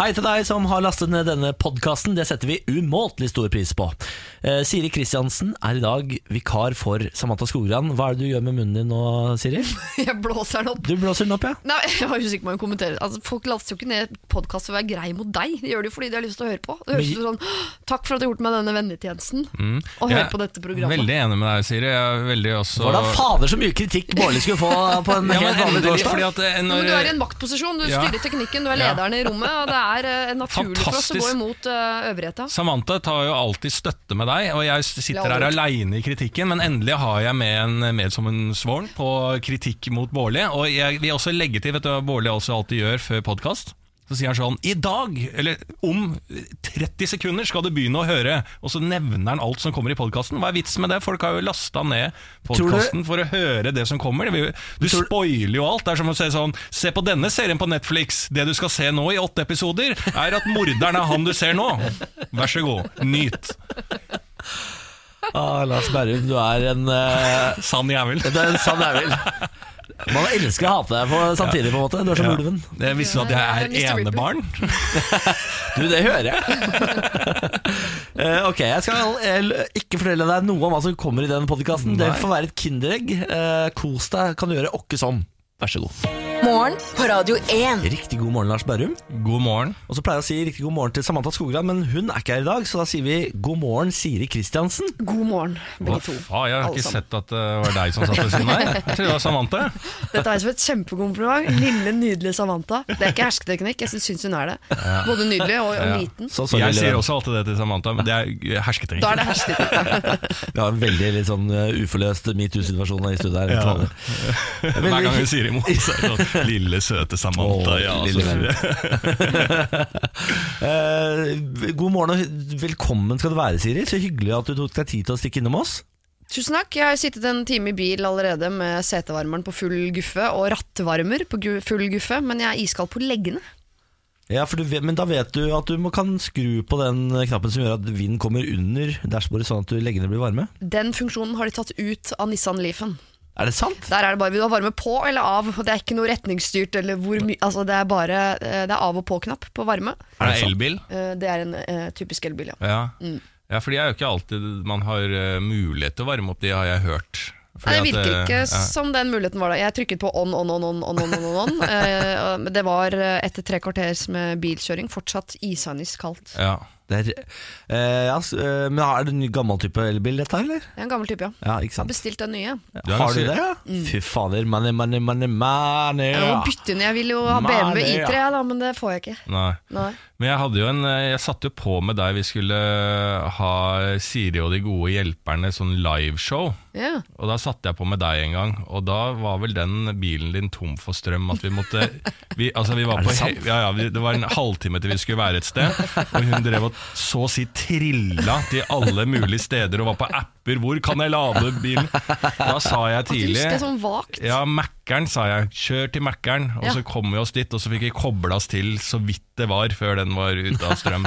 Hei til deg som har lastet ned denne podkasten. Det setter vi umåtelig stor pris på. Eh, Siri Kristiansen er i dag vikar for Samantha Skogran. Hva er det du gjør med munnen din nå, Siri? Jeg blåser den opp. Du blåser den opp, ja? Nei, jeg var ikke sikker på om jeg kommenterer. Altså, folk laster jo ikke ned podkast for å være grei mot deg. De gjør det jo fordi de har lyst til å høre på. Det Men- høres ut som sånn «Åh, Takk for at du har gjort meg denne vennetjenesten, og hør Jeg på dette er programmet. Mm. Veldig enig med deg, Siri. Jeg er veldig også Hvordan fader så mye kritikk Bårli skulle få på en Ja, men helt vanlig endelig, fordi torsdag? at eh, Men når, du er i en maktposisjon, du Ja. styrer teknikken, du er Ja. lederen i rommet, og det er eh, naturlig for oss å gå Fantastisk. imot eh, øvrigheta. Samantha tar jo alltid støtte med deg, og jeg sitter her Aldri. aleine i kritikken, men endelig har jeg med en medsammensvoren på kritikk mot Bårli. Og jeg vil også legge til, vet du hva Bårli også alltid gjør før podkast? Så sier han sånn I dag, eller om 30 sekunder, skal du begynne å høre. Og så nevner han alt som kommer i podkasten. Hva er vitsen med det? Folk har jo lasta ned du- podkasten for å høre det som kommer. Det vil jo- Du spoiler jo alt. Det er som å si sånn Se på denne serien på Netflix. Det du skal se nå i åtte episoder, er at morderen er han du ser nå. Vær så god, nyt. Ah, Lars Berrum, du er en eh, Sann jævel. Det er en sann jævel. Man elsker å hate deg på, samtidig, på en måte. Du er som Ja. ulven. Jeg visste du at jeg Mr. er Ripple. enebarn. Du, det hører jeg. Eh, ok, jeg skal eh, ikke fortelle deg noe om hva som kommer i den podkasten. Det får være et kinderegg. Eh, kos deg, kan du gjøre åkke som. Vær så god. Morgen på Radio 1. Riktig god morgen, Lars Berrum. God morgen. Og så pleier jeg å si riktig god morgen til Samantha Skogran, men hun er ikke her i dag, så da sier vi god morgen, Siri Kristiansen. God morgen, Hva begge to. faen, jeg har alle ikke sammen. sett at det var deg som satt ved siden her. Jeg trodde det var Samantha. Dette er som et kjempekompliment. Lille, nydelige Samantha. Det er ikke hersketeknikk, jeg syns hun er det. Både nydelig og, og Ja. liten. Så, sorry, Jeg sier Lene. også alltid det til Samantha, men det er Da hersketeknikk. er det hersketeknikk. Vi har en veldig litt sånn eh, uforløst metoo-situasjon i studio her. Ja. Veldig- Hver gang hun sier imot, så er det sånn Lille, søte Samantha. Åh, Ja, altså. lille så- Eh, god morgen og hy- velkommen skal du være, Siri. Så hyggelig at du tok deg tid til å stikke innom oss. Tusen takk. Jeg har sittet en time i bil allerede med setevarmeren på full guffe og rattvarmer på gu- full guffe, men jeg er iskald på leggene. Ja, for du, vet- Men da vet du at du må, kan skru på den knappen som gjør at vinden kommer under dashbordet, sånn at du leggene blir varme. Den funksjonen har de tatt ut av Nissan Leafen. Er det sant? Der er det bare vil du ha varme på eller av, og det er ikke noe retningsstyrt eller hvor mye Altså, det er bare eh, Det er av og på-knapp på varme. Er det elbil? Eh, Det er en eh, typisk elbil, ja. Ja. Mm. ja, for de er jo ikke alltid man har eh, mulighet til å varme opp, de har jeg hørt. Fordi Nei, det at, virker eh, ikke ja. som den muligheten var da. Jeg trykket på on, on, on, on, on, on, on, on, on. Eh, men Det var eh, etter tre kvarters med bilkjøring fortsatt isandis kaldt. Ja. Det er, eh, ja, s- eh, men er det en ny gammel type elbil, dette her, eller? Det er en gammel type, ja. Ja, ikke sant? Bestilt den nye. Du er Har du ganske- det? ja? Fy fader, money, money, money, money. Jeg Mm. må bytte inn, jeg vil jo ha BMW Mære, ja. I3, jeg da, men det får jeg ikke. Nei. Nei. Men jeg hadde jo en eh, Jeg satte jo på med deg vi skulle eh, ha Siri og de gode hjelperne sånn liveshow. Ja. Og da satte jeg på med deg en gang, og da var vel den bilen din tom for strøm. At vi måtte vi, altså vi var Er det på, he- sant? Ja, ja, vi, Det var en halvtime til vi skulle være et sted, og hun drev og så å si trilla til alle mulige steder og var på apper. 'Hvor kan jeg lade bilen?' Da sa jeg Du tidlig husker det sånn vagt. ja, Mækkern, sa jeg. Kjør til Mækkern. Og Ja. så kom vi oss dit, og så fikk vi kobla oss til så vidt det var før den var ute av strøm.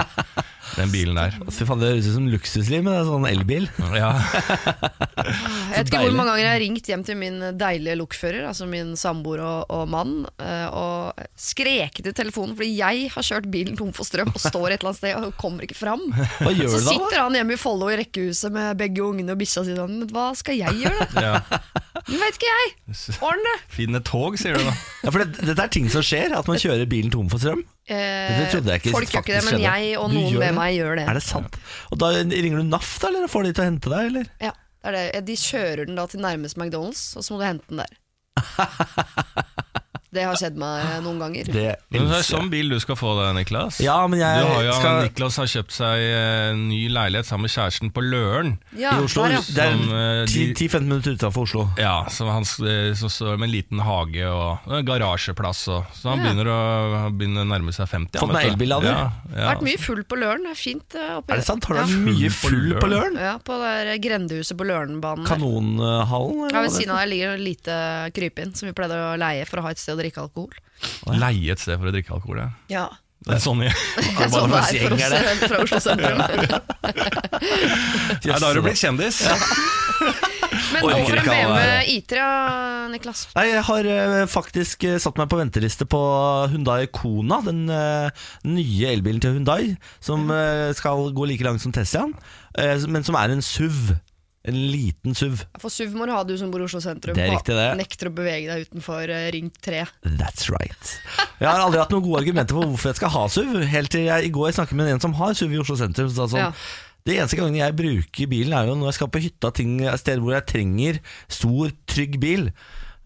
Den bilen der. Fy faen, Det høres ut som luksusliv med en sånn elbil. Ja, Jeg vet ikke hvor deilig. mange ganger jeg har ringt hjem til min deilige lokfører, altså min samboer og, og mann, eh, og skreket i telefonen fordi jeg har kjørt bilen tom for strøm og står et eller annet sted og kommer ikke fram. Hva gjør Så du da? da? sitter han hjemme i Follo i rekkehuset med begge ungene og bikkja si sånn, hva skal jeg gjøre da? ja. Det vet ikke jeg! Ordne! Finn et tog, sier du da. Ja, for det, dette er ting som skjer, at man kjører bilen tom for strøm. Det trodde jeg ikke Eh, folk gjør ikke det, faktisk men skjedde. jeg og Du noen gjør det? med meg gjør det. Er det sant? Og da ringer du NAF, da, eller får de til å hente deg, eller? Ja, det er det. De kjører den da til nærmeste McDonald's, og så må du hente den der. Det har skjedd meg eh, noen ganger. Det Men det er sånn bil du skal få deg, Niklas. Ja, men jeg du har jo, Eh, skal Niklas har kjøpt seg eh, ny leilighet sammen med kjæresten på Løren. Ja, i Oslo. der, ja. Det Som, eh, er de- 10-15 minutter utenfor Oslo. Ja, som han s- eh, som står med en liten hage og og en garasjeplass. Og, så han Ja. begynner å, han begynner å nærme seg 50. Fått han, meg vet du. elbil, Ander. Ja, ja. Vært mye full på Løren. Det er fint eh, oppi Er det sant? Har du Ja. vært mye full Full på på Løren? Ja, på det der grendehuset på Lørenbanen. der. Kanonhallen? eller Ja, hva Ved det siden av der ligger en lite eh, krypinn som vi pleide å leie for å ha et sted å drikke alkohol. altså. Leie et sted for å drikke alkohol, ja. Ja, Det er sånn vi Det er sånn det er for gjeng er oss fra Oslo sentrum. heter? Nei, da har du blitt kjendis. Men Orker hvorfor en ikke alle BMW her. I3, ja, E, Niklas? Nei, jeg har eh, faktisk eh, satt meg på venteliste på Hyundai Kona, den eh, nye elbilen til Hyundai, som eh, skal gå like langt som Tessian, eh, men som er en SUV. En liten SUV. For SUV må du ha, du som bor i Oslo sentrum. Det er riktig, det. og Nekter å bevege deg utenfor eh, Ring 3. That's right. Jeg har aldri hatt noen gode argumenter for hvorfor jeg skal ha SUV, helt til jeg i går snakket med en som har SUV i Oslo sentrum. som sa sånn, Ja. Det eneste gangen jeg bruker bilen, er jo når jeg skal på hytta, ting, steder hvor jeg trenger stor, trygg bil.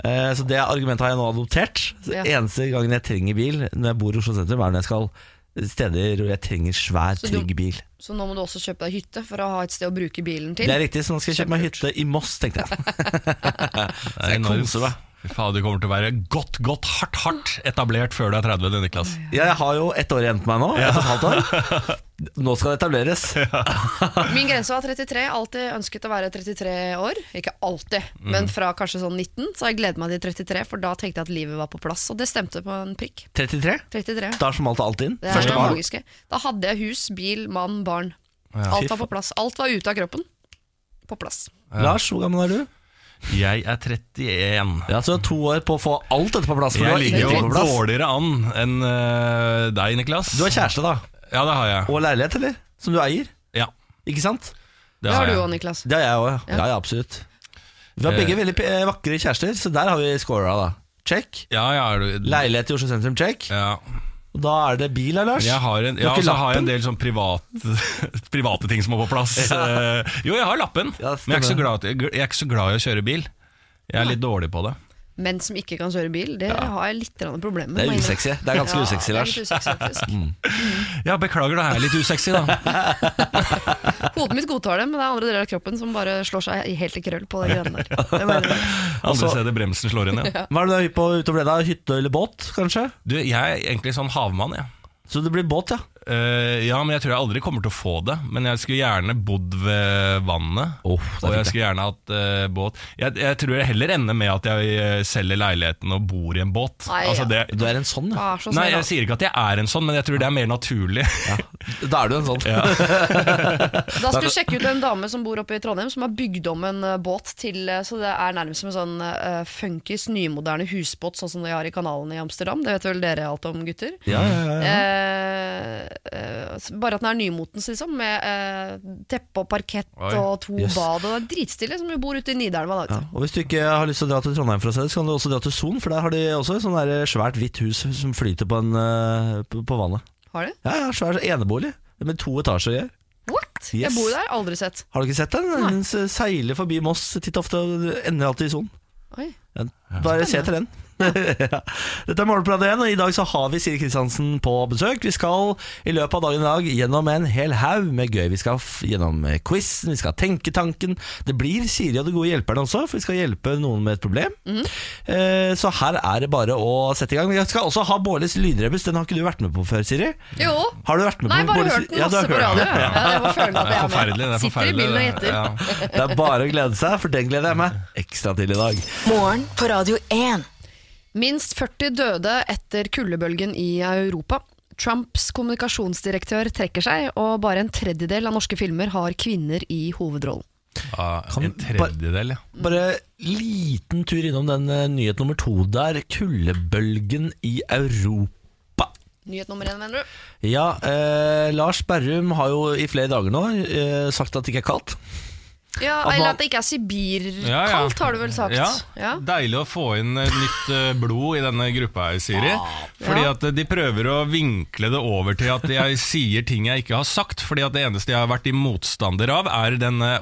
Eh, Så det argumentet har jeg nå adoptert. Så Ja. Eneste gangen jeg trenger bil når jeg bor i Oslo sentrum, er når jeg skal steder hvor jeg trenger svær, Så du- trygg bil. Så nå må du også kjøpe deg hytte for å ha et sted å bruke bilen til. Det er riktig, så nå skal jeg kjøpe meg hytte i Moss, tenkte jeg. Det er Jeg enormt. koser meg. Fy faen, du kommer til å være godt, godt, hardt, hardt etablert før du er 30, det, Niklas. Jeg har jo ett år igjen på meg nå. Ett og et halvt år. Nå skal det etableres. Min grense var 33. Alltid ønsket å være 33 år. Ikke alltid, Mhm. men fra kanskje sånn 19 så har jeg gledet meg til 33, for da tenkte jeg at livet var på plass. Og det stemte på en prikk. 33. 33. Da smalt alt inn. Det er Første det barn. magiske. Da hadde jeg hus, bil, mann, barn. Alt var på plass. Alt var ute av kroppen. På plass. Lars, hvor gammel er du? Jeg er 31. Ja, så du har to år på å få alt dette på plass. for Jeg du har ligger jo ingenting på plass. dårligere an enn eh, deg, Niklas. Du har kjæreste, da. Ja, det har jeg. Og leilighet, eller? Som du eier. Ja, Ikke sant? det Det har har du jeg. òg, Niklas. Det har jeg òg. Ja, ja, absolutt. Vi har Eh. begge veldig eh, vakre kjærester, så der har vi scora, da. Check. Ja, jeg har du. Leilighet i Oslo sentrum, check. Ja. Og da er det bil her, Lars. Jeg har en, Du ja, har ikke så har jeg en lappen? del sånn privat, private ting som må på plass. Eh, Jo, jeg har lappen, Ja, det men jeg er, ikke så stemmer. glad, at- jeg er ikke så glad i å kjøre bil. Jeg er litt dårlig på det. Menn som ikke kan kjøre bil, det har jeg litt grann problemer med. Det må er jeg usexy. innrømme. Det er ganske Ja, usexy, det er Lars. litt usexy, faktisk. Ja, beklager, da er jeg litt usexy, da. Hodet mitt godtar det, men det er andre deler av kroppen som bare slår seg i- helt i krøll på de greiene der. Det må jeg innrømme. Andre steder bremsen slår inn, ja. Hva er det du er hypp på utover det? da? Hytte eller båt, kanskje? Du, jeg er egentlig sånn havmann, jeg. Så det blir båt, ja. Eh, ja, men jeg tror jeg aldri kommer til å få det. Men jeg skulle gjerne bodd ved vannet. Åh, og jeg skulle gjerne hatt eh, båt. Jeg, jeg tror jeg heller ender med at jeg eh, selger leiligheten og bor i en båt. Nei, altså, det, Du er en sånn, ja. Vær så nei, snill, da. jeg sier ikke at jeg er en sånn, men jeg tror det er mer naturlig. Da er du en sånn. Da skal du sjekke ut en dame som bor oppe i Trondheim, som har bygd om en eh, båt til eh, Så det er nærmest som en sånn uh, funkis, nymoderne husbåt, sånn som de har i kanalen i Amsterdam. Det vet vel dere alt om, gutter? Ja, ja, ja, ja. Eh, eh, bare at den er nymotens, liksom, med eh, teppe og parkett Oi. og to Jøss. bad. Og det er dritstille, som jo bor ute i Nidelva. Da, Ja, vet du. og Hvis du ikke har lyst til å dra til Trondheim, for å se det, så kan du også dra til Son. For der har de også et sånn der svært hvitt hus som flyter på, en, eh, på, på vannet. Har de? Ja, ja, svær enebolig med to etasjer. i. What? Yes. Jeg bor der, aldri sett. Har du ikke sett den? Den s- seiler forbi Moss titt og ofte og ender alltid i Son. Oi. Ja, Bare se etter den. Ja. Dette er Morgenbladet 1, og i dag så har vi Siri Kristiansen på besøk. Vi skal i løpet av dagen i dag gjennom en hel haug med gøy. Vi skal f- gjennom quizen, vi skal ha tenketanken. Det blir Siri og de gode hjelperne også, for vi skal hjelpe noen med et problem. Mhm. Eh, Så her er det bare å sette i gang. Vi skal også ha Bårlis lydrebus. Den har ikke du vært med på før, Siri? Jo. Har du vært med Nei, på bare Bårlis- hørt den Ja, du masse har på hørt radio. den. Ja, jeg bare føler at Det jeg er er med. forferdelig. det er Sitter i forferdelig bilen og gjetter. Ja. Det er bare å glede seg, for den gleder jeg meg ekstra til i dag. Morgen på Radio 1. Minst 40 døde etter kuldebølgen i Europa. Trumps kommunikasjonsdirektør trekker seg, og bare en tredjedel av norske filmer har kvinner i hovedrollen. Ja, Kan- en tredjedel, ja. Bare liten tur innom den eh, nyhet nummer to der. Kuldebølgen i Europa. Nyhet nummer én, mener du? Ja, eh, Lars Berrum har jo i flere dager nå eh, sagt at det ikke er kaldt. Ja, man- Eller at det ikke er sibirkaldt, Ja, ja. har du vel sagt? Ja. Ja. Deilig å få inn eh, nytt eh, blod i denne gruppa her, Siri. Fordi Ja. at eh, de prøver å vinkle det over til at jeg sier ting jeg ikke har sagt. Fordi at det eneste jeg har vært i motstander av, er denne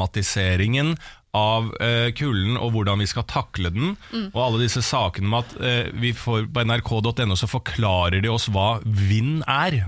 overdramatiseringen av eh, kulden og hvordan vi skal takle den. Mm. Og alle disse sakene med at eh, vi får på nrk.no så forklarer de oss hva vind er.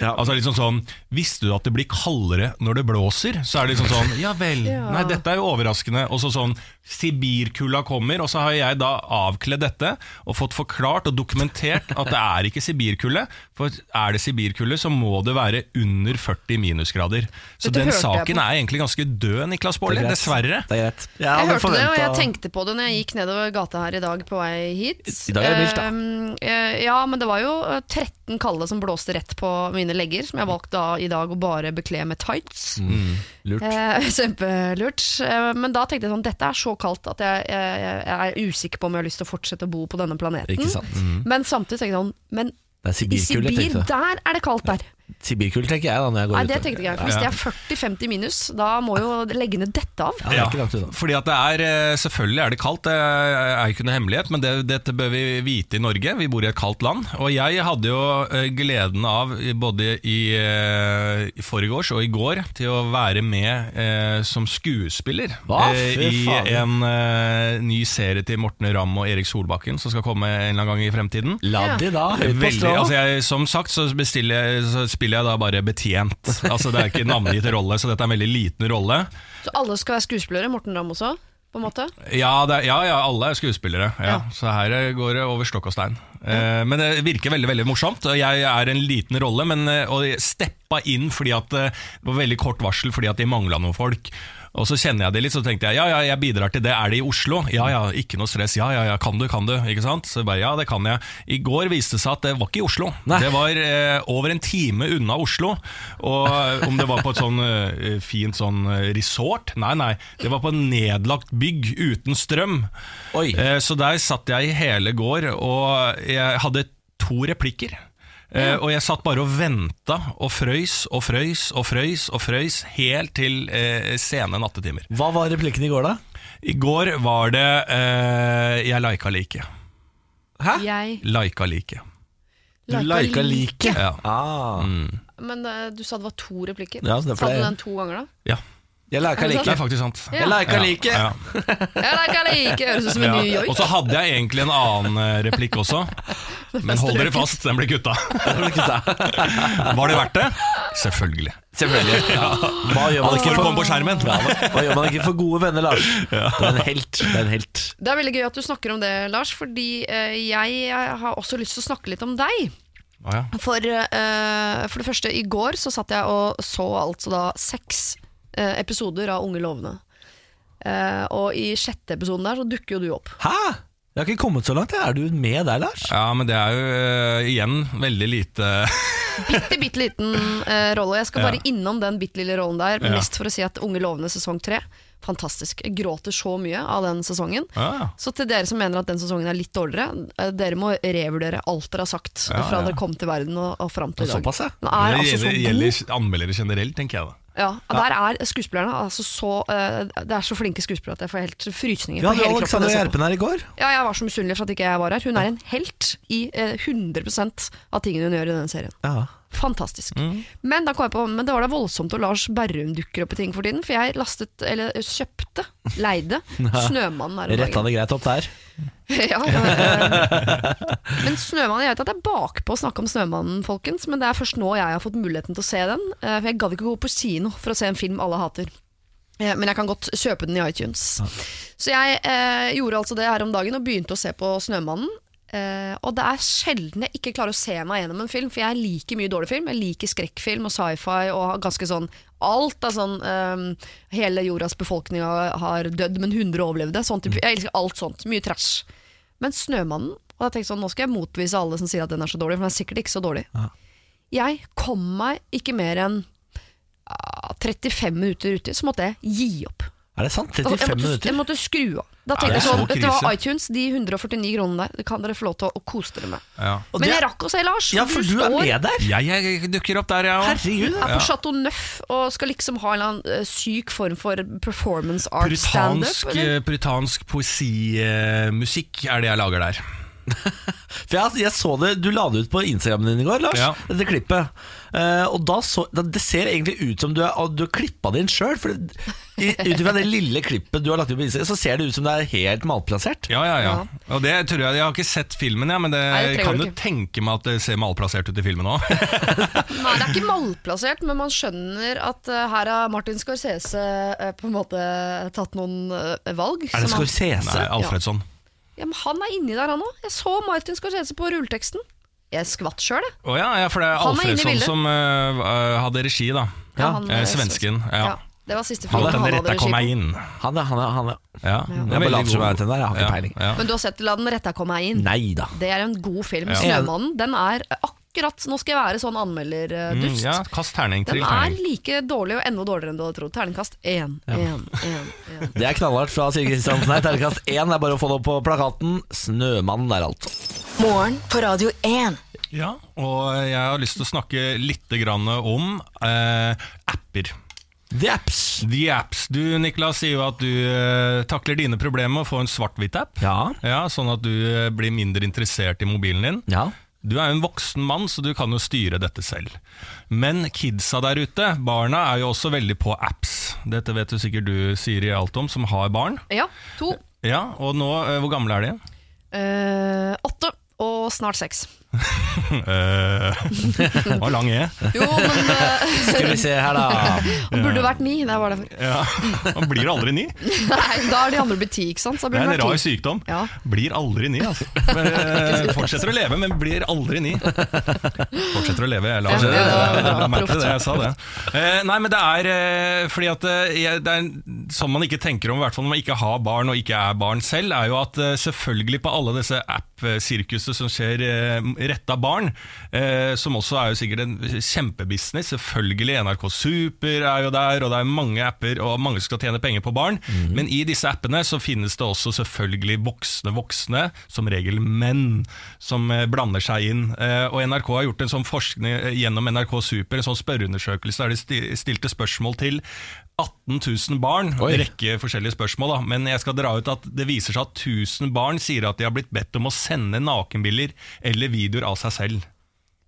Ja. Altså liksom sånn, Visste du at det blir kaldere når det blåser? Så er det liksom sånn Ja vel. Ja. Nei, dette er jo overraskende. Og så sånn Sibirkulda kommer, og så har jeg da avkledd dette og fått forklart og dokumentert at det er ikke sibirkulde. For er det sibirkulde, så må det være under 40 minusgrader. Så Dette den hørte jeg saken på. er egentlig ganske død, Niklas Det er Baarli. greit. Dessverre. Det er greit. Jeg hadde hørte det, og jeg forventet- tenkte på det når jeg gikk nedover gata her i dag på vei hit. I dag er det mildt, da. Ehm, eh, ja, men det var jo eh, 13 kalde som blåste rett på mine fine legger, som jeg har valgt da, i dag å bare bekle med tights. Mm. Lurt. Eh, kjempelurt. Eh, men da tenkte jeg sånn, dette er så kaldt at jeg, jeg, jeg er usikker på om jeg har lyst til å fortsette å bo på denne planeten. Ikke sant? Mm. Men samtidig tenkte jeg sånn, men Det er mm. i sibirkulde, Sibir, tenkte jeg. der er det kaldt der. Sibirkulde tenker jeg da når jeg går Nei, ut. det tenkte jeg ikke. Hvis det er 40-50 minus, da må jo leggene dette av. Ja, det er ikke langt unna. fordi at det er, eh, Selvfølgelig er det kaldt, det er jo ikke noe hemmelighet, men det, dette bør vi vite i Norge. Vi bor i et kaldt land. Og jeg hadde jo eh, gleden av, eh, både i, eh, i forgårs og i går, til å være med eh, som skuespiller Hva? eh, Fy i faen. en eh, ny serie til Morten Ramm og Erik Solbakken, som skal komme en eller annen gang i fremtiden. La de da, høyt på Veldig, strå. altså jeg, som sagt så, bestiller, jeg- så spiller jeg da bare betjent. Altså Det er ikke navngitt rolle, så dette er en veldig liten rolle. Så alle skal være skuespillere, Morten Ramm også, på en måte. Ja, det er, ja, ja, alle er skuespillere. Ja. Ja. Så her går det over stokk og stein. Eh, men det virker veldig veldig morsomt. og Jeg er en liten rolle, men eh, og jeg steppa inn fordi at eh, det var veldig kort varsel fordi at de mangla noen folk. Og så kjenner jeg det litt, så tenkte jeg ja, ja, jeg bidrar til det. Er det i Oslo? Ja ja, ikke noe stress. Ja ja, ja, kan du, kan du? Ikke sant? Så jeg bare ja, det kan jeg. I går viste det seg at det var ikke i Oslo. Nei. Det var eh, over en time unna Oslo. Og eh, om det var på et sånn eh, fint sånn eh, resort? Nei, nei. Det var på en nedlagt bygg uten strøm. Oi. Eh, så der satt jeg i hele går, og jeg hadde to replikker. Eh, og jeg satt bare og venta og frøys og frøys og frøys og frøys helt til eh, sene nattetimer. Hva var replikken i går, da? I går var det eh, 'jeg lika like'. Hæ? Jeg Lika like. Du lika like. Ja. Ah. Men eh, du sa det var to replikker. Ja, så det er sa du flere. den to ganger, da? ja. Jeg liker Er det Det like. er faktisk sant. Ja. Jeg liker Ja, like. ja. Jeg liker like, høres ut som en Ja. New York. Og så hadde jeg egentlig en annen eh, replikk også, men hold dere fast, den ble kutta. Var det verdt det? Selvfølgelig. Selvfølgelig. Hva gjør man Alt ikke for å komme på for skjermen. Ja, hva- Hva gjør man ikke for gode venner, Lars? Det er en helt. Det er en helt. Det er veldig gøy at du snakker om det, Lars, fordi eh, jeg har også lyst til å snakke litt om deg. Å ja. For, eh, for det første, i går så satt jeg og så altså da seks eh, episoder av Unge lovende. Eh, og i sjette episoden der så dukker jo du opp. Hæ? Jeg har ikke kommet så langt. jeg. Er du med der, Lars? ja, men det er jo eh, igjen veldig lite Bitte, bitte liten eh, rolle. Jeg skal Ja. bare innom den bitte lille rollen der, Ja. mest for å si at Unge lovende sesong tre, fantastisk. Jeg gråter så mye av den sesongen. ja. Så til dere som mener at den sesongen er litt dårligere, eh, dere må revurdere alt dere har sagt Ja, fra ja. dere kom til verden og, og fram til i dag. Såpass, ja. Den er Det altså så gjelder, god. gjelder anmeldere generelt, tenker jeg da. Ja, og Der er skuespillerne altså så eh, Det er så flinke skuespillere at jeg får helt Vi frysninger på hadde hele kroppen. Alexandra når jeg ser på. Gjerpen her i går. Ja, jeg var så misunnelig for at ikke jeg var her. Hun er en helt i eh, 100 av tingene hun gjør i denne serien. Ja. Fantastisk. Men da kom jeg på Men det var da voldsomt når Lars Berrum dukker opp i ting for tiden. For jeg lastet, eller kjøpte, leide, Snømannen her om dagen. Retta det greit opp der. ja, eh, men Snømannen, jeg vet at jeg er bakpå å snakke om Snømannen, folkens, men det er først nå jeg har fått muligheten til å se den. eh, For jeg gadd ikke å gå på kino for å se en film alle hater. Eh, Men jeg kan godt kjøpe den i iTunes. Så jeg eh, gjorde altså det her om dagen og begynte å se på Snømannen. Eh, og det er sjelden jeg ikke klarer å se meg gjennom en film, for jeg liker mye dårlig film. Jeg liker skrekkfilm og sci-fi og har ganske sånn alt er sånn eh, Hele jordas befolkning har, har dødd, men 100 overlevde. Sånn type, jeg elsker alt sånt. Mye trash. Men Snømannen Og da tenkte jeg sånn, nå skal jeg motvise alle som sier at den er så dårlig, for den er sikkert ikke så dårlig. Jeg kom meg ikke mer enn ah, 35 minutter uti, så måtte jeg gi opp. Er det sant? Jeg 35 måtte, jeg minutter? måtte skru av. Da det tenkte er jeg så sånn, dette var krise. iTunes, de 149 kronene der, det kan dere få lov til å, å kose dere med. Ja. Og Men det- jeg rakk å se Lars. Ja, for du er står- med der. Jeg, jeg dukker opp der, jeg òg. Herregud. er på Chateau Neuf og skal liksom ha en eller annen eh, syk form for performance art Puritansk, standup. eller? eh, puritansk poesimusikk er det jeg lager der. For jeg, jeg så det, Du la det ut på Instagramen din i går, Lars. Ja. Dette klippet. Eh, og da så, da, Det ser egentlig ut som du er- at du har klippa det inn sjøl. Ut ifra det lille klippet du har lagt ut på Instagram, så ser det ut som det er helt malplassert. Ja, ja, ja. Og det tror jeg, jeg har ikke sett filmen, ja, men det, Nei, det trenger kan du jo ikke. tenke meg at det ser malplassert ut i filmen òg. Nei, det er ikke malplassert, men man skjønner at eh, her har Martin Scorsese eh, på en måte tatt noen eh, valg. Er det som han- Scorsese? Nei, Alfredsson. Ja, men han er inni der, han òg. Jeg så Martin Scorsese på rulleteksten. Jeg skvatt sjøl, jeg. Å ja, ja, for det er Han er inne i Alfredsson bildet. som eh, hadde regi, da. Ja, han, eh, eh, svensken, ja. Det var siste Han filmen lot han den hadde retta regi komme på. inn. Han er, han er, han er. Ja, det er bare veldig later som god. jeg vet den der, jeg har ikke Ja, peiling. Ja. Men du har sett La den retta komme meg inn? Nei da. Det er en god film. Ja. 'Snømannen' den er eh, akkurat 'nå skal jeg være sånn anmelder'-dust. Mm, ja, kast terning til Den er terning. like dårlig og enda dårligere enn du hadde trodd. Terningkast én, én, én. én. Det er knallhardt fra Sigrid Kristiansen her. Terningkast én er bare å få det opp på plakaten. Snømannen der, altså. Morgen på Radio 1. Ja, og jeg har lyst til å snakke litt grann om eh, apper. The Apps. The apps. Du, Niklas, sier jo at du eh, takler dine problemer med å få en svart-hvitt app. Ja. Ja, Sånn at du eh, blir mindre interessert i mobilen din. Ja. Du er jo en voksen mann, så du kan jo styre dette selv. Men kidsa der ute, barna, er jo også veldig på apps. Dette vet jo sikkert du, Siri, alt om, som har barn. Ja, to. Ja, Og nå, eh, hvor gamle er de? Eh, åtte. Og snart seks. Eh, Det var lang E. Jo, men eh, Skal vi se her, da. han burde vært ni. Det var derfor. Ja. Han blir aldri ni. Nei, da er de andre blitt ti, ikke sant? Så da Det burde er han en rar vært ti. sykdom. Ja. Blir aldri ni, altså. Men, eh, fortsetter å leve, men blir aldri ni. Fortsetter å leve, jeg la Ja, det. ja, ja, ja. Jeg merket det, jeg sa det. Eh, Nei, men det er eh, fordi at eh, jeg- det er sånn man ikke tenker om, i hvert fall når man ikke har barn og ikke er barn selv, er jo at eh, selvfølgelig på alle disse app-sirkuset som skjer eh, retta barn, eh, som også er jo sikkert en kjempebusiness, selvfølgelig NRK Super er jo der, og det er mange apper, og mange skal tjene penger på barn, men i disse appene så finnes det også selvfølgelig voksne voksne, som regel menn, som eh, blander seg inn. Eh, Og NRK har gjort en sånn forskning eh, gjennom NRK Super, en sånn spørreundersøkelse der de sti- stilte spørsmål til 18 000 barn, Oi. en rekke forskjellige spørsmål, da. men jeg skal dra ut at det viser seg at 1000 barn sier at de har blitt bedt om å sende nakenbilder eller videoer av seg selv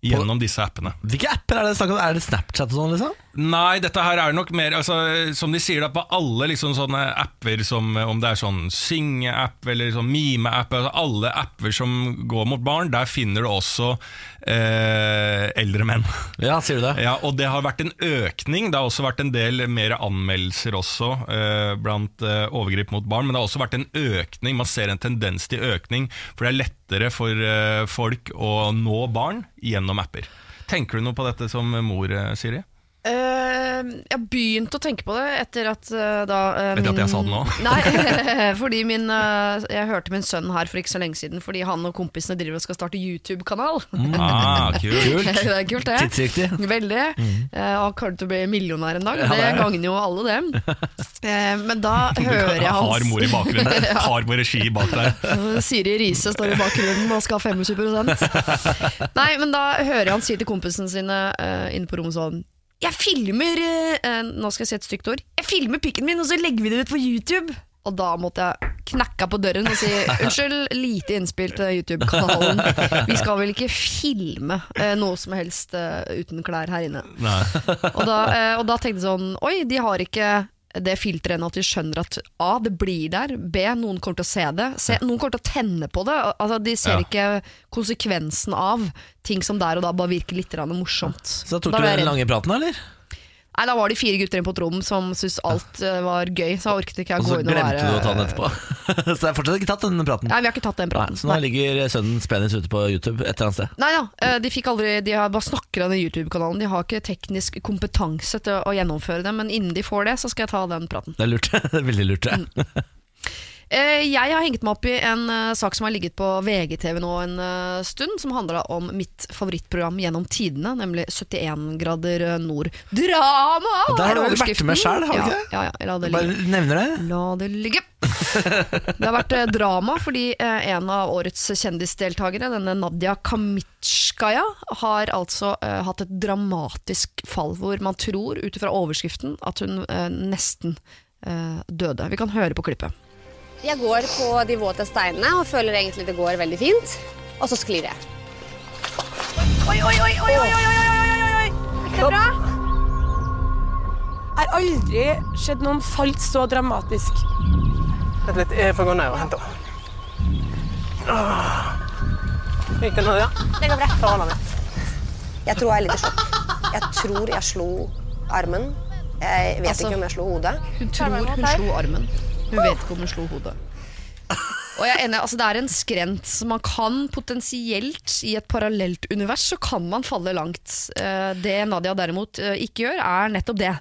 gjennom disse appene. Hvilke apper er det snakk om? Er det Snapchat og sånn, liksom? Nei, dette her er nok mer altså, Som de sier da på alle liksom sånne apper som, Om det er sånn synge-app Eller sånn mime-app altså, Alle apper som går mot barn Der finner du også eh, eldre menn Ja, sier du det? ja, og det har vært en økning. Det har også vært en del mer anmeldelser også eh, blant eh, overgrip mot barn. Men det har også vært en økning. Man ser en tendens til økning, for det er lettere for eh, folk å nå barn gjennom apper. Tenker du noe på dette som mor, eh, Siri? Eh, jeg begynte å tenke på det etter at eh, da eh, Etter at min- jeg sa det nå? Nei, fordi min eh, Jeg hørte min sønn her for ikke så lenge siden, fordi han og kompisene driver og skal starte YouTube-kanal. Ah, kult. det er kult, det. Mm. Tidsriktig. Veldig. Mm. Eh, og kommer til å bli millionær en dag. og det det er det. gagner jo alle, det. Eh, men da hører jeg hans Har mor i bakgrunnen. Har mor regi bak der. Eh, Siri Riise står i bakgrunnen og skal ha 25 Nei, men da hører jeg han si til kompisene sine eh, inne på rommet sånn Jeg filmer eh, eh, Nå skal jeg si et stygt ord. Jeg filmer pikken min, og så legger vi det ut på YouTube. Og da måtte jeg knakka på døren og si unnskyld, lite innspill til YouTube-kanalen. Vi skal vel ikke filme eh, noe som helst eh, uten klær her inne. Nei. Og da, eh, og da tenkte jeg sånn Oi, de har ikke det filteret enn at de skjønner at A, det blir der. B, noen kommer til å se det. C, noen kommer til å tenne på det. Al- Altså, de ser Ja. ikke konsekvensen av ting som der og da bare virker litt grann morsomt. Så da tok Da du ble jeg den redd. lange praten, eller? Nei, da var de fire gutter inne på et rom som syntes alt eh, var gøy, så orket ikke jeg Og gå så inn og være glemte du å ta den etterpå. Så det er fortsatt ikke tatt den praten. Nei, vi har ikke tatt den Nei, praten. så nå ligger sønnens penis ute på YouTube et eller annet sted. Nei da, eh, de fikk aldri De har bare snakker om den YouTube-kanalen. De har ikke teknisk kompetanse til å- å gjennomføre det, men innen de får det, så skal jeg ta den praten. Det er lurt. Det er Veldig lurt. Mm, det. Eh, Jeg har hengt meg opp i en eh, sak som har ligget på VGTV nå en eh, stund, som handla om mitt favorittprogram gjennom tidene, nemlig 71 grader eh, nord. Drama! Og der har du er vel vært overskriften. med selv, har du ja, ikke det? Ja, ja, la det ligge. Bare nevner det. La det ligge. Det har vært eh, drama fordi eh, en av årets kjendisdeltakere, denne Nadia Kamitskaya, har altså eh, hatt et dramatisk fall hvor man tror, ut ifra overskriften, at hun eh, nesten eh, døde. Vi kan høre på klippet. Jeg går på de våte steinene og føler egentlig det går veldig fint. Og så sklir jeg. Oi, oi, oi, oi, oi, oi, oi, oi, oi, oi. Gikk det bra? Jeg har aldri sett noen falt så dramatisk. Vent litt, jeg får gå ned og hente henne. Åh. Gikk det nå, ja? Det går bra. Ta hånda mi. Jeg tror jeg er litt i sjokk. Jeg tror jeg slo armen. Jeg vet Altså- ikke om jeg slo hodet. Hun tror hun slo armen. Hun vet ikke om hun slo hodet. Og jeg er enig, altså Det er en skrent. så Man kan potensielt, i et parallelt univers, så kan man falle langt. Eh, Det Nadia derimot eh, ikke gjør, er nettopp det.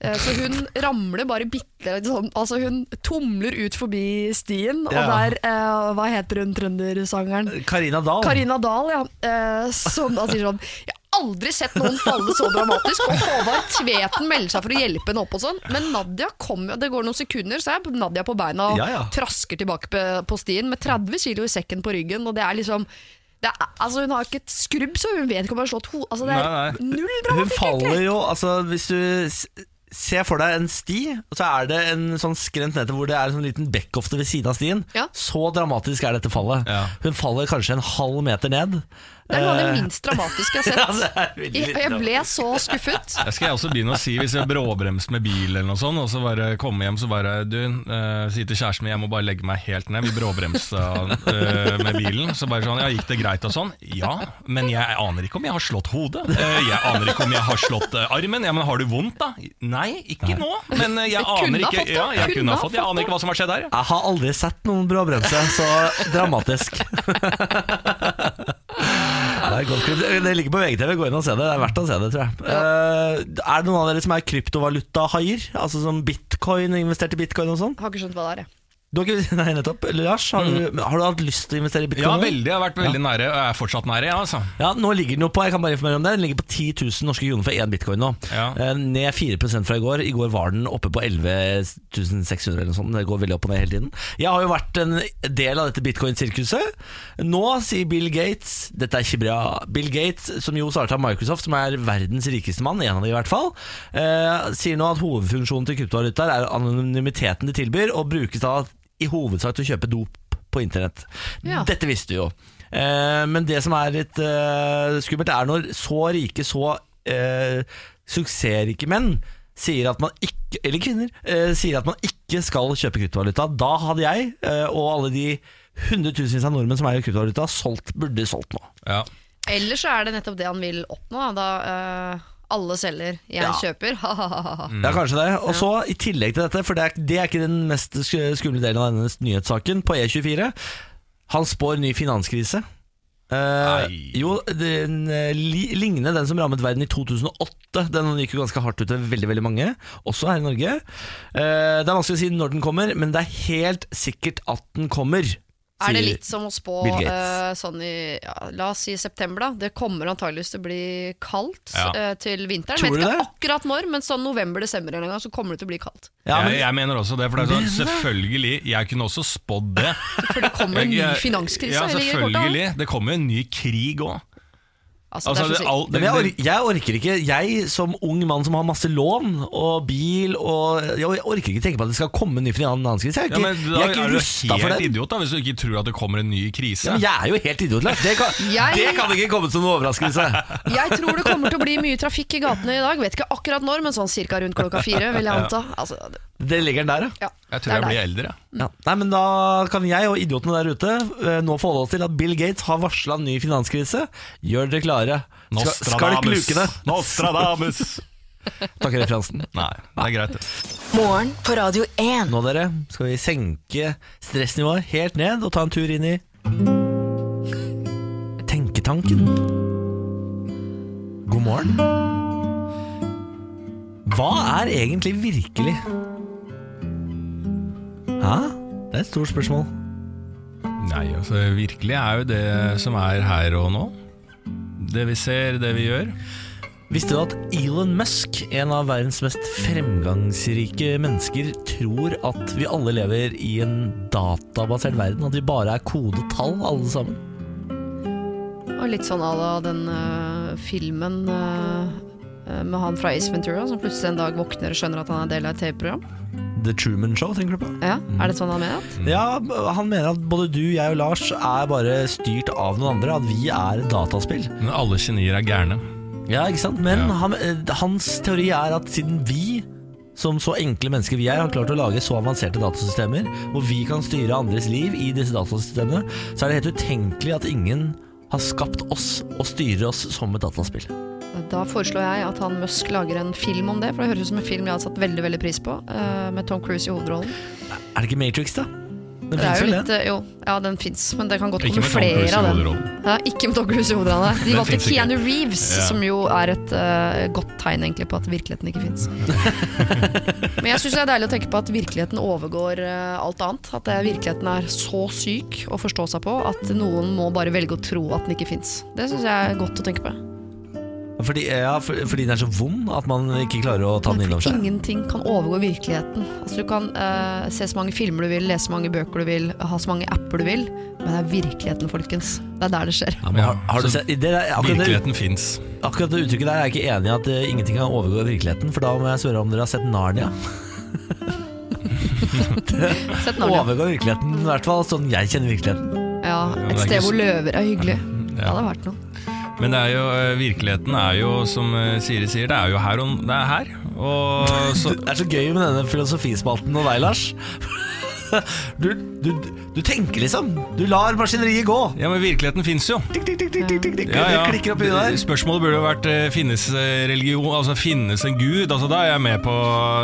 Eh, Så hun ramler bare bitte litt sånn Altså hun tumler ut forbi stien, og Ja. der eh, Hva heter hun trøndersangeren? Karina Dahl. Karina Dahl, ja. Eh, som da sier sånn Jeg har aldri sett noen falle så dramatisk. Og Håvard Tveten melder seg for å hjelpe henne opp og sånn. Men Nadia kom jo Det går noen sekunder, så er Nadia på beina og Ja, ja. trasker tilbake på, på stien med 30 kilo i sekken på ryggen, og det er liksom det er, altså Hun har ikke et skrubb, så hun vet ikke om hun har slått hodet altså, Det er Nei, nei. null Hun dramatikk, egentlig. faller jo altså, Hvis du s- ser for deg en sti, og så er det en sånn skrent nedover hvor det er en sånn liten bekkofte ved siden av stien. Ja. Så dramatisk er dette fallet. Ja. Hun faller kanskje en halv meter ned. Det er noe av det Eh, minst dramatiske jeg ja, har det sett. er veldig Jeg, jeg ble så skuffet. Det skal jeg også begynne å si hvis jeg bråbremser med bil eller noe sånt, og så bare komme hjem så bare Du, eh, si til kjæresten min jeg må bare legge meg helt ned. Vi bråbremsa eh, med bilen. Så bare sånn Ja, gikk det greit og sånn? Ja, men jeg aner ikke om jeg har slått hodet. Eh, jeg aner ikke om jeg har slått eh, armen. Ja, men har du vondt, da? Nei, ikke nå. Men eh, Jeg jeg, kunne aner ha ikke fått det. Ja, jeg kunne ha fått det. Jeg det. aner ikke hva som har skjedd her. Jeg har aldri sett noen bråbremse så dramatisk. det, er godt. klipp. det ligger på VGTV, gå inn og se det. Det er verdt å se det, tror jeg. Eh, er det noen av dere som er kryptovalutahaier? Altså som bitcoin, investert i bitcoin og sånn? Har ikke skjønt hva det er, jeg. Du har ikke Nei, nettopp. Lars, har, du, men har du hatt lyst til å investere i bitcoin? Mm. Ja, veldig. Jeg har vært veldig nære, og jeg er fortsatt nære, ja, altså. Ja, nå ligger den jo på Jeg kan bare informere om det Den ligger på 10 000 norske kroner for én bitcoin nå. Ja. Eh, Ned 4 fra i går. I går var den oppe på 11 600 eller noe sånt. Det går veldig opp og ned hele tiden. Jeg har jo vært en del av dette bitcoin-sirkuset. Nå sier Bill Gates Dette er ikke bra. Bill Gates, som jo starta Microsoft, som er verdens rikeste mann, en av de i hvert fall, eh, sier nå at hovedfunksjonen til kryptovalutaer er anonymiteten de tilbyr, og brukes da i hovedsak til å kjøpe dop på internett. Ja. Dette visste du jo. Eh, men det som er litt eh, skummelt, er når så rike, så eh, suksessrike menn sier at man ikke, eller kvinner, eh, sier at man ikke skal kjøpe kryptovaluta. Da hadde jeg, eh, og alle de hundretusenvis av nordmenn som eier kryptovaluta, solgt, burde solgt nå. Ja. Ellers så er det nettopp det han vil oppnå. Da, da eh, alle selger, jeg Ja. Mm. kjøper. Ha-ha-ha. Ja, kanskje det. Og så I tillegg til dette, for det er, det er ikke den mest sk- skumle delen av denne nyhetssaken, på E24 Han spår ny finanskrise. Eh, Nei. jo, den, eh, li, lignende den som rammet verden i 2008. Den gikk jo ganske hardt ut til veldig veldig mange, også her i Norge. Eh, det er vanskelig å si når den kommer, men det er helt sikkert at den kommer. Er det sier- litt som å spå Bill Gates. eh, sånn i ja, La oss si september, da. Det kommer antageligvis til å bli kaldt Ja. eh, til vinteren. Tror Vet du ikke det? akkurat når, men sånn november-desember en gang så kommer det til å bli kaldt. Ja, men- jeg, jeg mener også det, for det er sånn, selvfølgelig, jeg kunne også spådd det. For det kommer en ny Jeg- jeg- finanskrise. Ja, jeg ligger i korta. selvfølgelig. Det kommer jo en ny krig òg. Altså, Altså, det er så det- sykt. all- Men det- jeg, det- orker, jeg orker ikke Jeg som ung mann som har masse lån og bil og Jeg orker ikke tenke på at det skal komme en ny finanskrise. Jeg er ja, ikke, men da jeg er er ikke du rusta for helt den. idiot da, hvis du ikke tror at det kommer en ny Ja, krise. men jeg er jo helt idiot, Lars. Det, kan- Jeg- det kan ikke komme som noen overraskelse. Jeg tror det kommer til å bli mye trafikk i gatene i dag. Vet ikke akkurat når, men sånn cirka rundt klokka fire, vil jeg anta. Altså, det- Det ligger den der, ja. ja. Jeg Det tror er deg. jeg blir eldre. jeg. ja. Nei, men da kan jeg og idiotene der ute eh, nå forholde oss til at Bill Gates har varsla ny finanskrise. Gjør dere klare. Skal, skalk lukene. Nostradamus. Takk, referansen. Nei, det er greit. det. Morgen på Radio 1. Nå, dere, skal vi senke stressnivået helt ned og ta en tur inn i Tenketanken. God morgen. Hva er egentlig virkelig? Hæ? Det er et stort spørsmål. Nei, altså virkelig er jo det som er her og nå. Det vi ser, det vi gjør. Visste du at Elon Musk, en av verdens mest fremgangsrike mennesker, tror at vi alle lever i en databasert verden? At vi bare er kodetall, alle sammen? Og litt sånn à la den eh, filmen eh, eh, med han fra Ace Ventura som plutselig en dag våkner og skjønner at han er del av et TV-program. The Truman Show, tenker du på? Ja, Er det sånn han mener? det? Ja, han mener at både du, jeg og Lars er bare styrt av noen andre. At vi er et dataspill. Men alle genier er gærne. Ja, ikke sant? Men Ja. han, eh, hans teori er at siden vi, som så enkle mennesker vi er, har klart å lage så avanserte datasystemer, hvor vi kan styre andres liv i disse datasystemene, så er det helt utenkelig at ingen har skapt oss og styrer oss som et dataspill. Da foreslår jeg at han Musk lager en film om det, for det høres ut som en film jeg hadde satt veldig veldig pris på, eh, med Tom Cruise i hovedrollen. Er det ikke Matrix, da? Den Det finnes er jo vel, litt, den? eh, jo, ja, den fins, men det kan godt Ikke komme med Tom Cruise flere i av dem. hovedrollen. Ja, ikke med Tom Cruise i hovedrollen. nei. De Den valgte finnes ikke. Keanu Reeves, Ja. som jo er et eh, godt tegn egentlig på at virkeligheten ikke fins. men jeg syns det er deilig å tenke på at virkeligheten overgår eh, alt annet. At eh, virkeligheten er så syk å forstå seg på at noen må bare velge å tro at den ikke fins. Det syns jeg er godt å tenke på. Fordi, ja, for, fordi den er så vond at man ikke klarer å ta den innom seg. Ingenting kan overgå virkeligheten. Altså, du kan eh, se så mange filmer du vil, lese så mange bøker du vil, ha så mange apper du vil, men det er virkeligheten, folkens. Det er der det skjer. Ja, men har, har du Så sett, det er, akkurat, det, Virkeligheten fins. akkurat det uttrykket der er jeg ikke enig i at eh, ingenting kan overgå virkeligheten, for da må jeg spørre om dere har sett Narnia. Sett Narnia. Overgå virkeligheten, i hvert fall sånn jeg kjenner virkeligheten. Ja, et men det er sted ikke hvor så- løver er hyggelig. Det Ja. hadde vært noe. Men det er jo, eh, virkeligheten er jo, som eh, Siri sier, det er jo her og det er her. Og så, Det er så gøy med denne filosofispalten og deg, Lars. Du, du, du tenker liksom. Du lar maskineriet gå. ja, men virkeligheten fins jo. Tikk, tikk, tikk, tikk, tikk, tikk, tikk. Ja, ja. Det klikker opp i det der. Spørsmålet burde jo vært eh, finnes eh, religion, altså finnes en gud? Altså Da er jeg med på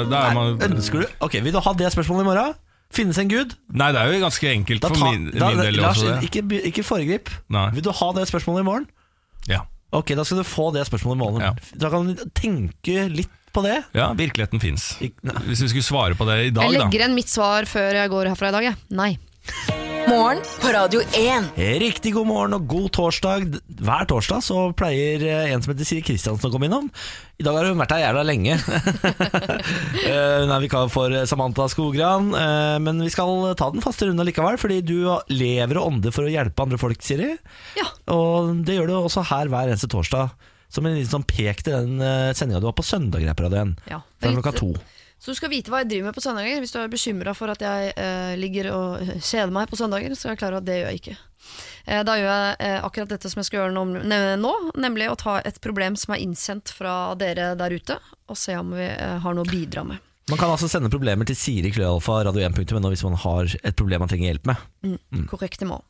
da er man, Nei, ønsker du Ok, Vil du ha det spørsmålet i morgen? Finnes en gud? Nei, det er jo ganske enkelt Da for ta- min, da- min del Lars, også, det. ikke, be- ikke foregrip. Nei. Vil du ha det spørsmålet i morgen? Ja. Ok, Da skal du få det spørsmålet i morgen. Ja. Da kan du tenke litt på det. ja, virkeligheten fins. Ik- nei. Hvis vi skulle svare på det i dag, Jeg da. legger igjen mitt svar før jeg går herfra i dag, jeg. Nei. Morgen på Radio 1. Riktig god morgen og god torsdag. Hver torsdag så pleier eh, en som heter Siri Kristiansen å komme innom. I dag har hun vært her jævla lenge. Eh, hun er vikar for eh, Samantha Skogran. eh, Men vi skal ta den faste runden likevel, fordi du lever og ånder for å hjelpe andre folk, Siri. Ja. Og det gjør du også her hver eneste torsdag. Som en liten sånn pek til den sendinga du har på søndag her på Radio 1. Ja. Fra klokka to. Så du skal vite hva jeg driver med på søndager. Hvis du er bekymra for at jeg eh, ligger og kjeder meg på søndager, så er jeg klar over at det gjør jeg ikke. Eh, da gjør jeg eh, akkurat dette som jeg skal gjøre nå, ne- nå, nemlig å ta et problem som er innsendt fra dere der ute, og se om vi eh, har noe å bidra med. Man kan altså sende problemer til Siri Kløalfa radio1.no hvis man har et problem man trenger hjelp med. Korrekte mål.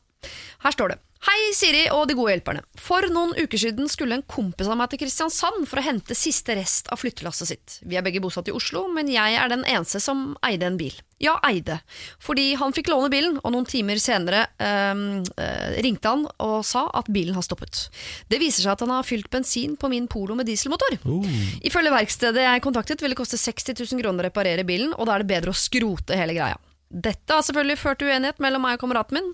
Her står det. Hei, Siri og de gode hjelperne. For noen uker siden skulle en kompis av meg til Kristiansand for å hente siste rest av flyttelasset sitt. Vi er begge bosatt i Oslo, men jeg er den eneste som eide en bil. Ja, eide. Fordi han fikk låne bilen, og noen timer senere ehm, eh, ringte han og sa at bilen har stoppet. Det viser seg at han har fylt bensin på min Polo med dieselmotor. Oh. Ifølge verkstedet jeg kontaktet, ville det koste 60 000 kroner å reparere bilen, og da er det bedre å skrote hele greia. Dette har selvfølgelig ført til uenighet mellom meg og kameraten min.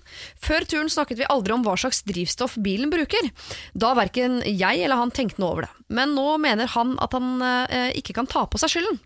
Før turen snakket vi aldri om hva slags drivstoff bilen bruker, da verken jeg eller han tenkte noe over det. Men nå mener han at han eh, ikke kan ta på seg skylden.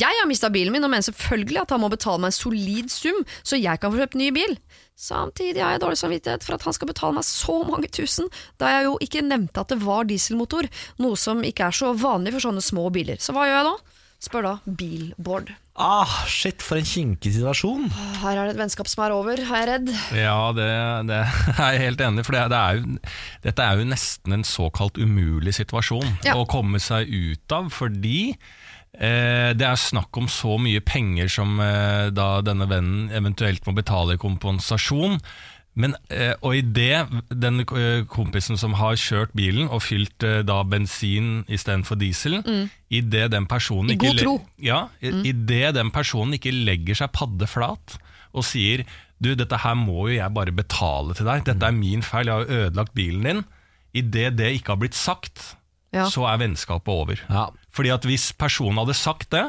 Jeg har mista bilen min og mener selvfølgelig at han må betale meg en solid sum, så jeg kan få kjøpt ny bil. Samtidig har jeg dårlig samvittighet for at han skal betale meg så mange tusen, da jeg jo ikke nevnte at det var dieselmotor, noe som ikke er så vanlig for sånne små biler. Så hva gjør jeg nå? Spør da Bilbord. Ah, shit, for en kinkig situasjon. Her er det et vennskap som er over, er jeg redd. Ja, det, det er jeg helt enig i. For det, det er jo, dette er jo nesten en såkalt umulig situasjon Ja. å komme seg ut av, fordi eh, det er snakk om så mye penger som eh, da denne vennen eventuelt må betale i kompensasjon. Men, eh, og idet den eh, kompisen som har kjørt bilen og fylt eh, da bensin istedenfor diesel, idet den personen Mm. I ikke god le- tro. Mm. ja, i- idet den personen ikke legger seg paddeflat og sier du, dette her må jo jeg bare betale til deg, Mm. dette er min feil, jeg har jo ødelagt bilen din. Idet det ikke har blitt sagt, Ja. så er vennskapet over. Ja. Fordi at hvis personen hadde sagt det,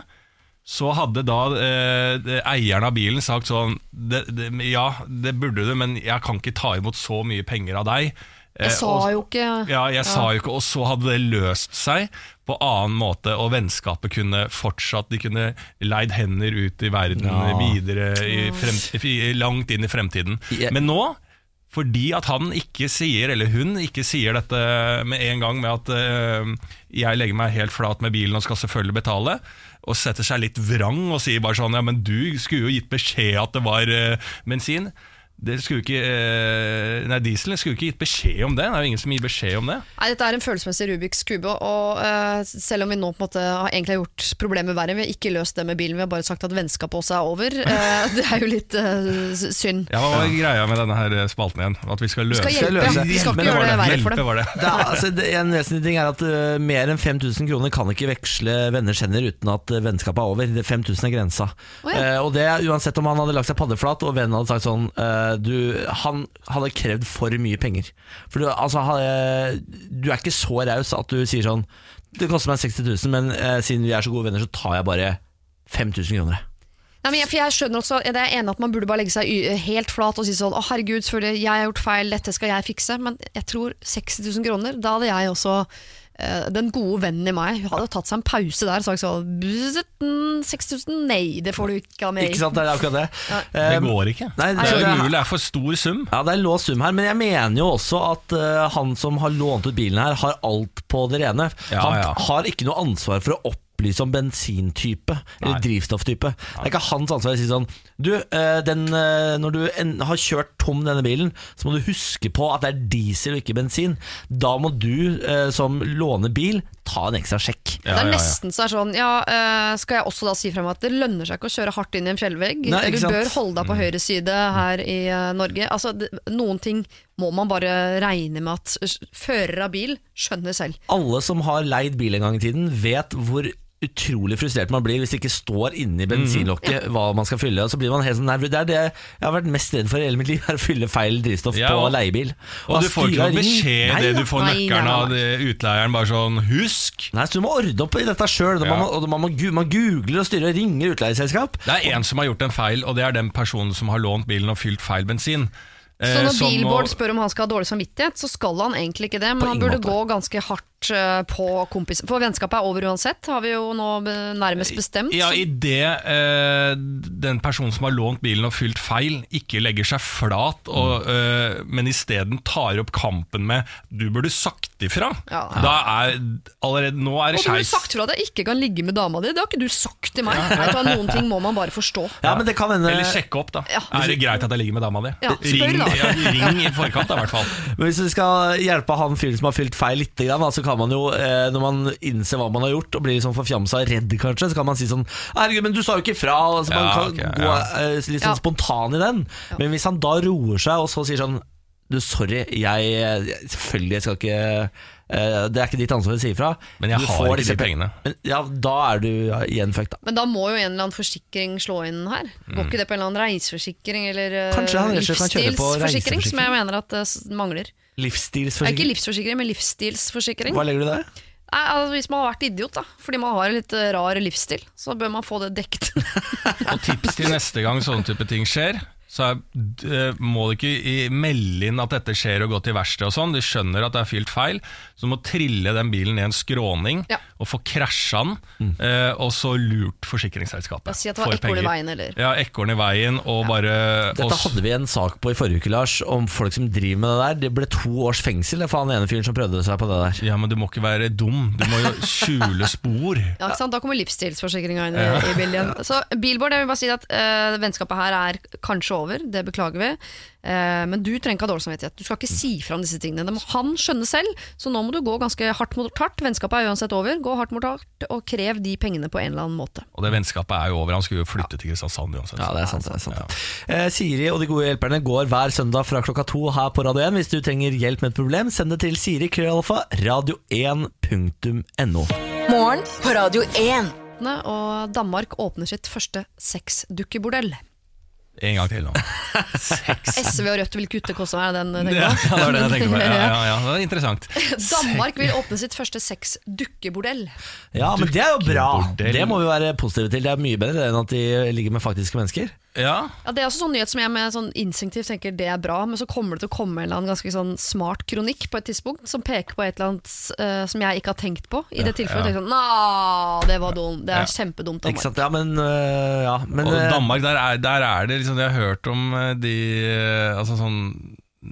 så hadde da eh, det- eieren av bilen sagt sånn det, det, Ja, det burde du, men jeg kan ikke ta imot så mye penger av deg. Eh, Jeg sa og- jo ikke ja, jeg sa jo ikke, og så hadde det løst seg på annen måte, og vennskapet kunne fortsatt, de kunne leid hender ut i verden Ja. videre, i frem, i- langt inn i fremtiden. Jeg- Men nå, fordi at han ikke sier, eller hun ikke sier dette med en gang, med at eh, jeg legger meg helt flat med bilen og skal selvfølgelig betale, og setter seg litt vrang og sier bare sånn, ja, men du skulle jo gitt beskjed at det var eh, bensin. Dere skulle jo ikke eh, Nei, Diesel skulle jo ikke gitt beskjed om det. Det er jo ingen som gir beskjed om det. Nei, Dette er en følelsesmessig Rubiks kube. Og eh, selv om vi nå på en måte har egentlig har gjort problemet verre, vi har ikke løst det med bilen, vi har bare sagt at vennskapet også er over. Eh, det er jo litt eh, s- synd. Ja, Hva var greia med denne her eh, spalten igjen? At vi skal løse skal hjelpe. løse. Vi skal Hjelpe ikke gjøre det var verre for Hjelpe dem. var det. Det er, altså, det, en vesentlig ting er at eh, mer enn 5000 kroner kan ikke veksle venners hender uten at eh, vennskapet er over. Det- 5000 er grensa. Å, ja. Eh, og det er Uansett om han hadde lagt seg paddeflat og vennen hadde sagt sånn eh, du, Han hadde krevd for mye penger. For du, altså, ha- eh, du er ikke så raus at du sier sånn Det koster meg 60 000, men eh, siden vi er så gode venner, så tar jeg bare 5000 kroner. jeg.» Nei, men jeg, for jeg skjønner også, det er enig at man burde bare legge seg y- helt flat og si sånn Å, herregud, selvfølgelig, jeg har gjort feil, dette skal jeg fikse. Men jeg tror 60 000 kroner, da hadde jeg også eh, den gode vennen i meg hadde tatt seg en pause der og sagt sånn «Bzzzt, mm, 6000, nei, det får du ikke av meg. Ikke sant, det er akkurat det. Det Eh, går ikke. Nei, altså, det det er er- umulig. Det er for stor sum. Ja, det er en låst sum her, men jeg mener jo også at eh, han som har lånt ut bilen her, har alt på det rene. Ja, han ja. har ikke noe ansvar for å opplyse om bensintype Nei. eller drivstofftype. Det er ikke hans ansvar å si sånn Du, eh, den, eh, når du en, har kjørt tom denne bilen, så må du huske på at det er diesel og ikke bensin. Da må du eh, som låner bil, ta en ekstra sjekk. Ja, det ja, er ja. nesten så er sånn ja, eh, Skal jeg også da si frem at det lønner seg ikke å kjøre hardt inn i en fjellvegg? Nei, ikke du sant? Mm. bør holde deg på høyre side her i eh, Norge. Altså, det, noen ting må man bare regne med at s- fører av bil skjønner selv. Alle som har leid bil en gang i tiden vet hvor utrolig frustrert man blir hvis det ikke står inni Mm. bensinlokket hva man skal fylle. Og så blir man helt sånn nervøs. Det er det jeg har vært mest redd for i hele mitt liv, er å fylle feil drivstoff Ja, på og- leiebil. Og du får ikke styrer noe beskjed ring. idet Nei, du får Nei, nei, nøkkelen nei, av det- utleieren. Bare sånn 'husk'. Nei, så du må ordne opp i dette sjøl. Ja. Man, man, må gu- man googler og styrer og ringer utleieselskap. Det er en som har gjort en feil, og det er den personen som har lånt bilen og fylt feil bensin. Eh, Så når som Bilboard må- spør om han skal ha dårlig samvittighet, så skal han egentlig ikke det. Men han ingen burde måte. gå ganske hardt eh, på kompisen. For vennskapet er over uansett, har vi jo nå eh, nærmest bestemt. Ja, Så- idet eh, den personen som har lånt bilen og fylt feil, ikke legger seg flat, og, eh, men isteden tar opp kampen med 'du burde sagt ifra', Ja. da er allerede nå er og det du har skeis. sagt fra at jeg ikke kan ligge med dama di, det har ikke du sagt til meg. Nei, vet du hva, noen ting må man bare forstå. Ja, men det kan hende Eller sjekke opp, da. Ja. Er det greit at jeg ligger med dama di? Ja, spør ring, da. ja, ring i forkant, da, i hvert fall. Men Hvis vi skal hjelpe han fyren som har fylt feil litt, grann, da, så kan man jo, eh, når man innser hva man har gjort og blir liksom forfjamsa og redd, kanskje, så kan man si sånn Herregud, men du sa jo ikke fra. og så man Ja, kan gå ok, ja. eh, litt Ja. sånn spontan i den. Men hvis han da roer seg og så sier sånn Du, sorry, jeg jeg- Selvfølgelig jeg skal ikke eh, Det er ikke ditt ansvar å si ifra. Men jeg Du har får ikke disse de pe- pengene. Men, ja, da er du ja, igjen fucked, da. Men da må jo en eller annen forsikring slå inn her. Går ikke det på en eller annen reiseforsikring eller eh, Mm. Kanskje han rett og slett kan kjøre på livsstilsforsikring, som jeg reiseforsikring. mener at det s- mangler. Det er ikke Livsstilsforsikring. livsforsikring, men livsstilsforsikring. Hva legger du der? Nei, altså, hvis man har vært idiot, da, fordi man har en litt eh, rar livsstil, så bør man få det dekket. Og tips til neste gang sånne type ting skjer, så er, eh, må du ikke i, melde inn at dette skjer og gå til verksted og sånn. De skjønner at det er fylt feil, så du må trille den bilen ned en skråning Ja. og få krasja den, Mm. eh, og så lurt Bare forsikringsselskapet. si at det var for ekorn i penger. veien, eller Ja, ekorn i veien og bare Dette og s- hadde vi en sak på i forrige uke, Lars, om folk som driver med det der. Det ble to års fengsel for han ene fyren som prøvde seg på det der. Ja, men du må ikke være dum. Du må jo skjule spor. Ja, ikke sant? Da kommer livsstilsforsikringa inn i, i bildet igjen. Så Bilboard, jeg vil bare si at eh, vennskapet her er kanskje over, det beklager vi. Eh, men du trenger ikke ha dårlig samvittighet. Du skal ikke si fra om disse tingene. Det må han skjønne selv, så nå må du gå ganske hardt mot hardt. Vennskapet er uansett over. Gå hardt mot hardt og krev de pengene på en eller annen måte. Og det vennskapet er jo over. Han skulle jo flytte til Kristiansand uansett. Ja, det er sant. det er sant eh, Siri og de gode hjelperne går hver søndag fra klokka to her på Radio 1. Hvis du trenger hjelp med et problem, send det til siri krøllalfa radio1.no. Morgen på Radio 1. Og Danmark åpner sitt første sexdukkebordell. En gang til nå. SV og Rødt vil kutte kostnadene, er det den du Ja, tenker på? det var det jeg tenkte på. Ja, ja, ja, det var interessant. Danmark vil åpne sitt første sexdukkebordell. Ja, men det er jo bra! Dukkebordell. Det må vi være positive til. Det er mye bedre enn at de ligger med faktiske mennesker. Ja, Ja, det er også sånn nyhet som jeg med sånn instinktivt tenker det er bra, men så kommer det til å komme en eller annen ganske sånn smart kronikk på et tidspunkt som peker på et eller annet eh, som jeg ikke har tenkt på. I det tilfellet tenker jeg sånn Nå, det var dumt. Det er kjempedumt av Ikke meg. sant? Ja, men, øh, ja, men Og øh, Danmark, der er, der er det liksom, Jeg har hørt om eh, de eh, Altså sånn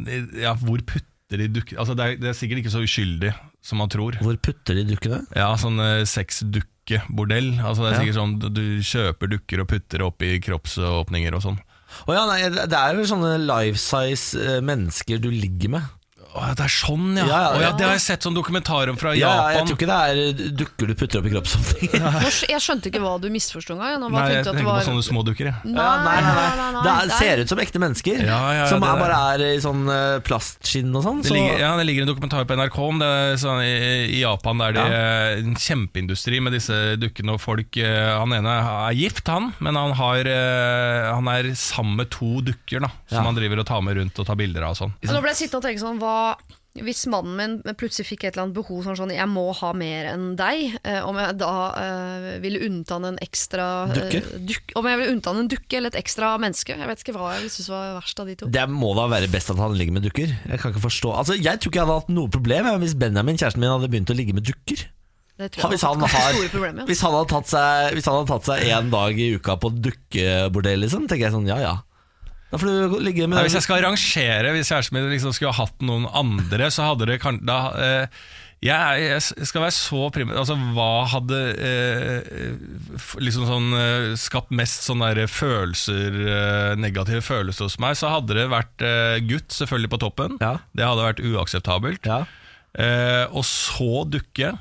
de- Ja, hvor putter de dukker altså, det, er, det er sikkert ikke så uskyldig som man tror. Hvor putter de dukkene? Ja, sånn eh, sexdukkebordell. Altså, det er Ja. sikkert sånn du- du kjøper dukker og putter opp i kroppsåpninger og sånn. Å ja, nei, det det er jo sånne life size eh, mennesker du ligger med. Å, det er sånn, ja. Ja, ja, Å, ja ja. det har jeg sett sånn dokumentar om fra Ja, ja, jeg Japan. tror ikke det er eh, dukker du putter opp i kroppsåpninger. Nå skj- Jeg skjønte ikke hva du misforsto engang. Nå Nei, bare jeg tenkte at tenker det på var sånne små dukker. jeg. sånn- Ja, nei, nei, nei. Det er, nei. ser ut som ekte mennesker, Ja, ja, som det er, der. bare er i sånn eh, plastskinn og sånn. Det Så, ligger, ja, det ligger en dokumentar på NRK om det sånn, i, i Japan. Der det er en kjempeindustri med disse dukkene og folk. eh, Han ene er gift, han, men han, har, eh, han er sammen med to dukker da, som Ja. han driver og tar med rundt og tar bilder av. og sånn Men Nå ble jeg sittende og tenke sånn hva, Hvis mannen min plutselig fikk et eller annet behov sånn, sånn Jeg må ha mer enn deg eh, Om jeg da eh, ville unnta han en ekstra eh, Dukke? duk, Om jeg ville unnta han en dukke eller et ekstra menneske Jeg vet ikke hva jeg synes var verst av de to det må da være best at han ligger med dukker. Jeg kan ikke forstå Altså, jeg tror ikke jeg hadde hatt noe problem jeg, hvis Benjamin, kjæresten min, hadde begynt å ligge med dukker. Det Han, tror jeg hvis, hadde han vært ganske har, store problemer, ja. hvis, han hadde tatt seg, hvis han hadde tatt seg en dag i uka på dukkebordell, liksom, tenker jeg sånn ja ja. Da får du ligge med Nei, hvis jeg skal rangere Hvis kjæresten min liksom skulle ha hatt noen andre Så hadde det kan, da, eh, jeg, er- jeg s- skal være så primitiv Altså hva hadde eh, f- Liksom sånn eh, Skapt mest sånne der følelser eh, Negative følelser hos meg Så hadde det vært eh, gutt selvfølgelig på toppen Ja. Det hadde vært uakseptabelt ja. eh, Og så dukke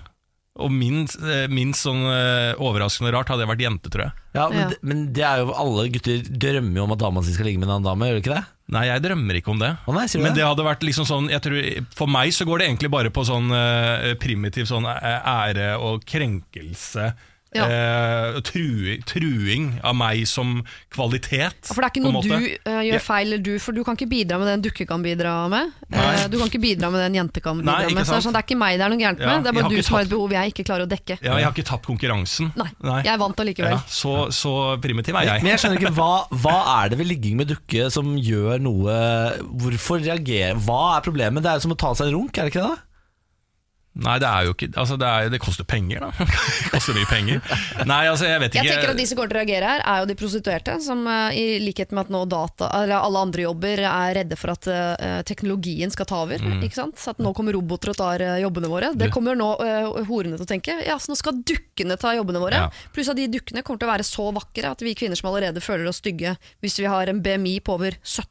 Og minst, eh, minst sånn eh, Overraskende rart hadde jeg vært jente tror jeg Ja, men, Ja. det- men det er jo alle gutter drømmer jo om at dama si skal ligge med en annen dame, gjør de ikke det? Nei, jeg drømmer ikke om det Å nei, sier du Men det? det hadde vært liksom sånn jeg tror, For meg så går det egentlig bare på sånn eh, primitiv sånn eh, ære og krenkelse. Ja. eh, true, truing av meg som kvalitet. for det er ikke på en noe du måte. eh, Ja. gjør feil eller du, For du kan ikke bidra med det en dukke kan bidra med Nei. Eh, Du kan ikke bidra med det en jente kan bidra Nei, ikke med Så det er, sant. sånn, det er ikke meg det er noe gærent med Ja, Det er jeg bare har du ikke som har tatt- et behov jeg ikke klarer å dekke ja, Jeg har ikke tapt konkurransen. Nei, jeg vant allikevel Ja, så, så primitiv er Men jeg. jeg skjønner ikke, hva, hva er det ved ligging med dukke som gjør noe Hvorfor reagerer Hva er problemet? Det er jo som å ta seg en runk, er det ikke det? da? Nei, det er jo ikke Altså, det, er, det koster penger, da. det koster mye penger. Nei, altså, jeg vet ikke Jeg tenker at De som kommer til å reagere her, er jo de prostituerte, som eh, i likhet med at nå data, eller alle andre jobber er redde for at eh, teknologien skal ta over. Mm. Ikke sant? Så at nå kommer roboter og tar eh, jobbene våre. Det kommer nå eh, horene til å tenke. Ja, så nå skal dukkene ta jobbene våre. Ja. Pluss at de dukkene kommer til å være så vakre at vi kvinner som allerede føler oss stygge hvis vi har en BMI på over 17,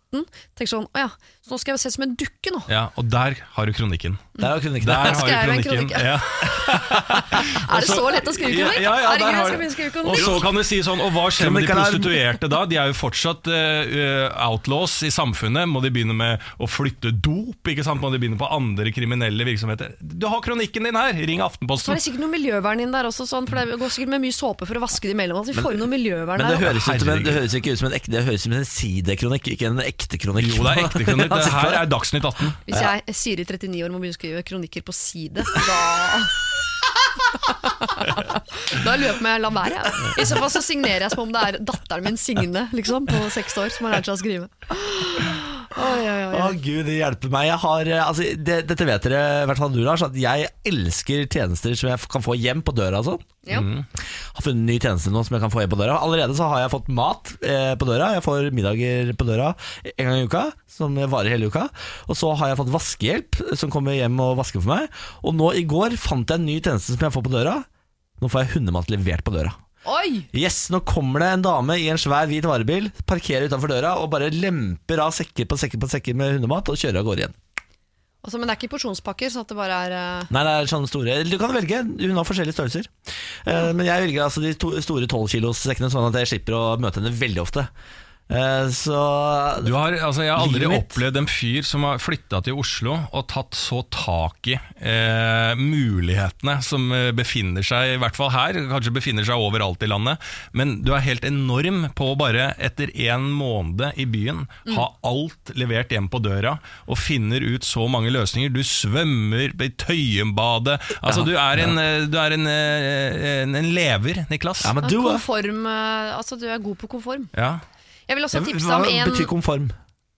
tenker sånn Å ja, så nå skal jeg se ut som en dukke nå. Ja, Og der har du kronikken. Det er jo kronikken. Der har skrev jeg en du kronikken. kronikk, Ja. Er det så lett å skrive kronikk? altså, Ja, ja, ja, Herregud, der jeg har skal begynne å du- skrive Og kronikk. så kan du si sånn Og hva skjer med de Kronikken er- prostituerte da? De er jo fortsatt eh, eh, outlaws i samfunnet. Må de begynne med å flytte dop? Ikke sant? Må de begynne på andre kriminelle virksomheter? Du har kronikken din her! Ring Så er Aftenposten. det sikkert noe miljøvern inn der også, sånn, for det går sikkert med mye såpe for å vaske det imellom. Altså, vi får jo noe miljøvern Men det der. høres, ut som en, det Herregud. høres ikke ut som en ekte Det høres ut som en sidekronikk, ikke en ekte kronikk. Jo, det er ekte kronikk. Ja, Det sikkert. her er Dagsnytt 18. Hvis jeg sier i 39 år må begynne å skrive kronikker på side, da Da lurer jeg på om jeg lar være. jeg. I så fall så signerer jeg som om det er datteren min Signe liksom, på seks år som har lært seg å skrive. Oi, oi, oi. Å gud, det hjelper meg. Jeg har, eh, altså, det, dette vet dere, i hvert fall du, Lars, at jeg elsker tjenester som jeg f- kan få hjem på døra og sånn. Ja. Har funnet en ny tjeneste nå som jeg kan få hjem på døra. Allerede så har jeg fått mat eh, på døra. Jeg får middager på døra en gang i uka, som varer hele uka. Og så har jeg fått vaskehjelp eh, som kommer hjem og vasker for meg. Og nå i går fant jeg en ny tjeneste som jeg får på døra. Nå får jeg hundemat levert på døra. oi! Yes, nå kommer det en dame i en svær hvit varebil, parkerer utenfor døra og bare lemper av sekker på sekker på sekker med hundemat og kjører av gårde igjen. Altså, men det er ikke porsjonspakker, sånn at det bare er eh, Nei, det er sånne store eller Du kan velge, hun har forskjellige størrelser Eh, Men jeg velger altså de to, store 12 kilos sekkene Sånn at jeg slipper å møte henne veldig ofte Eh, Så Du har, altså, jeg har aldri Livet mitt. opplevd en fyr som har flytta til Oslo og tatt så tak i eh, mulighetene som eh, befinner seg, i hvert fall her, kanskje befinner seg overalt i landet, men du er helt enorm på å bare etter en måned i byen Mm. ha alt levert hjem på døra og finner ut så mange løsninger. Du svømmer i Tøyenbadet Altså, du er, en, eh, du er en, eh, en, en lever, Niklas. Ja, men du eh, konform eh, Altså, du er god på konform. Ja. Jeg vil også tipse Hva om en betyr konform?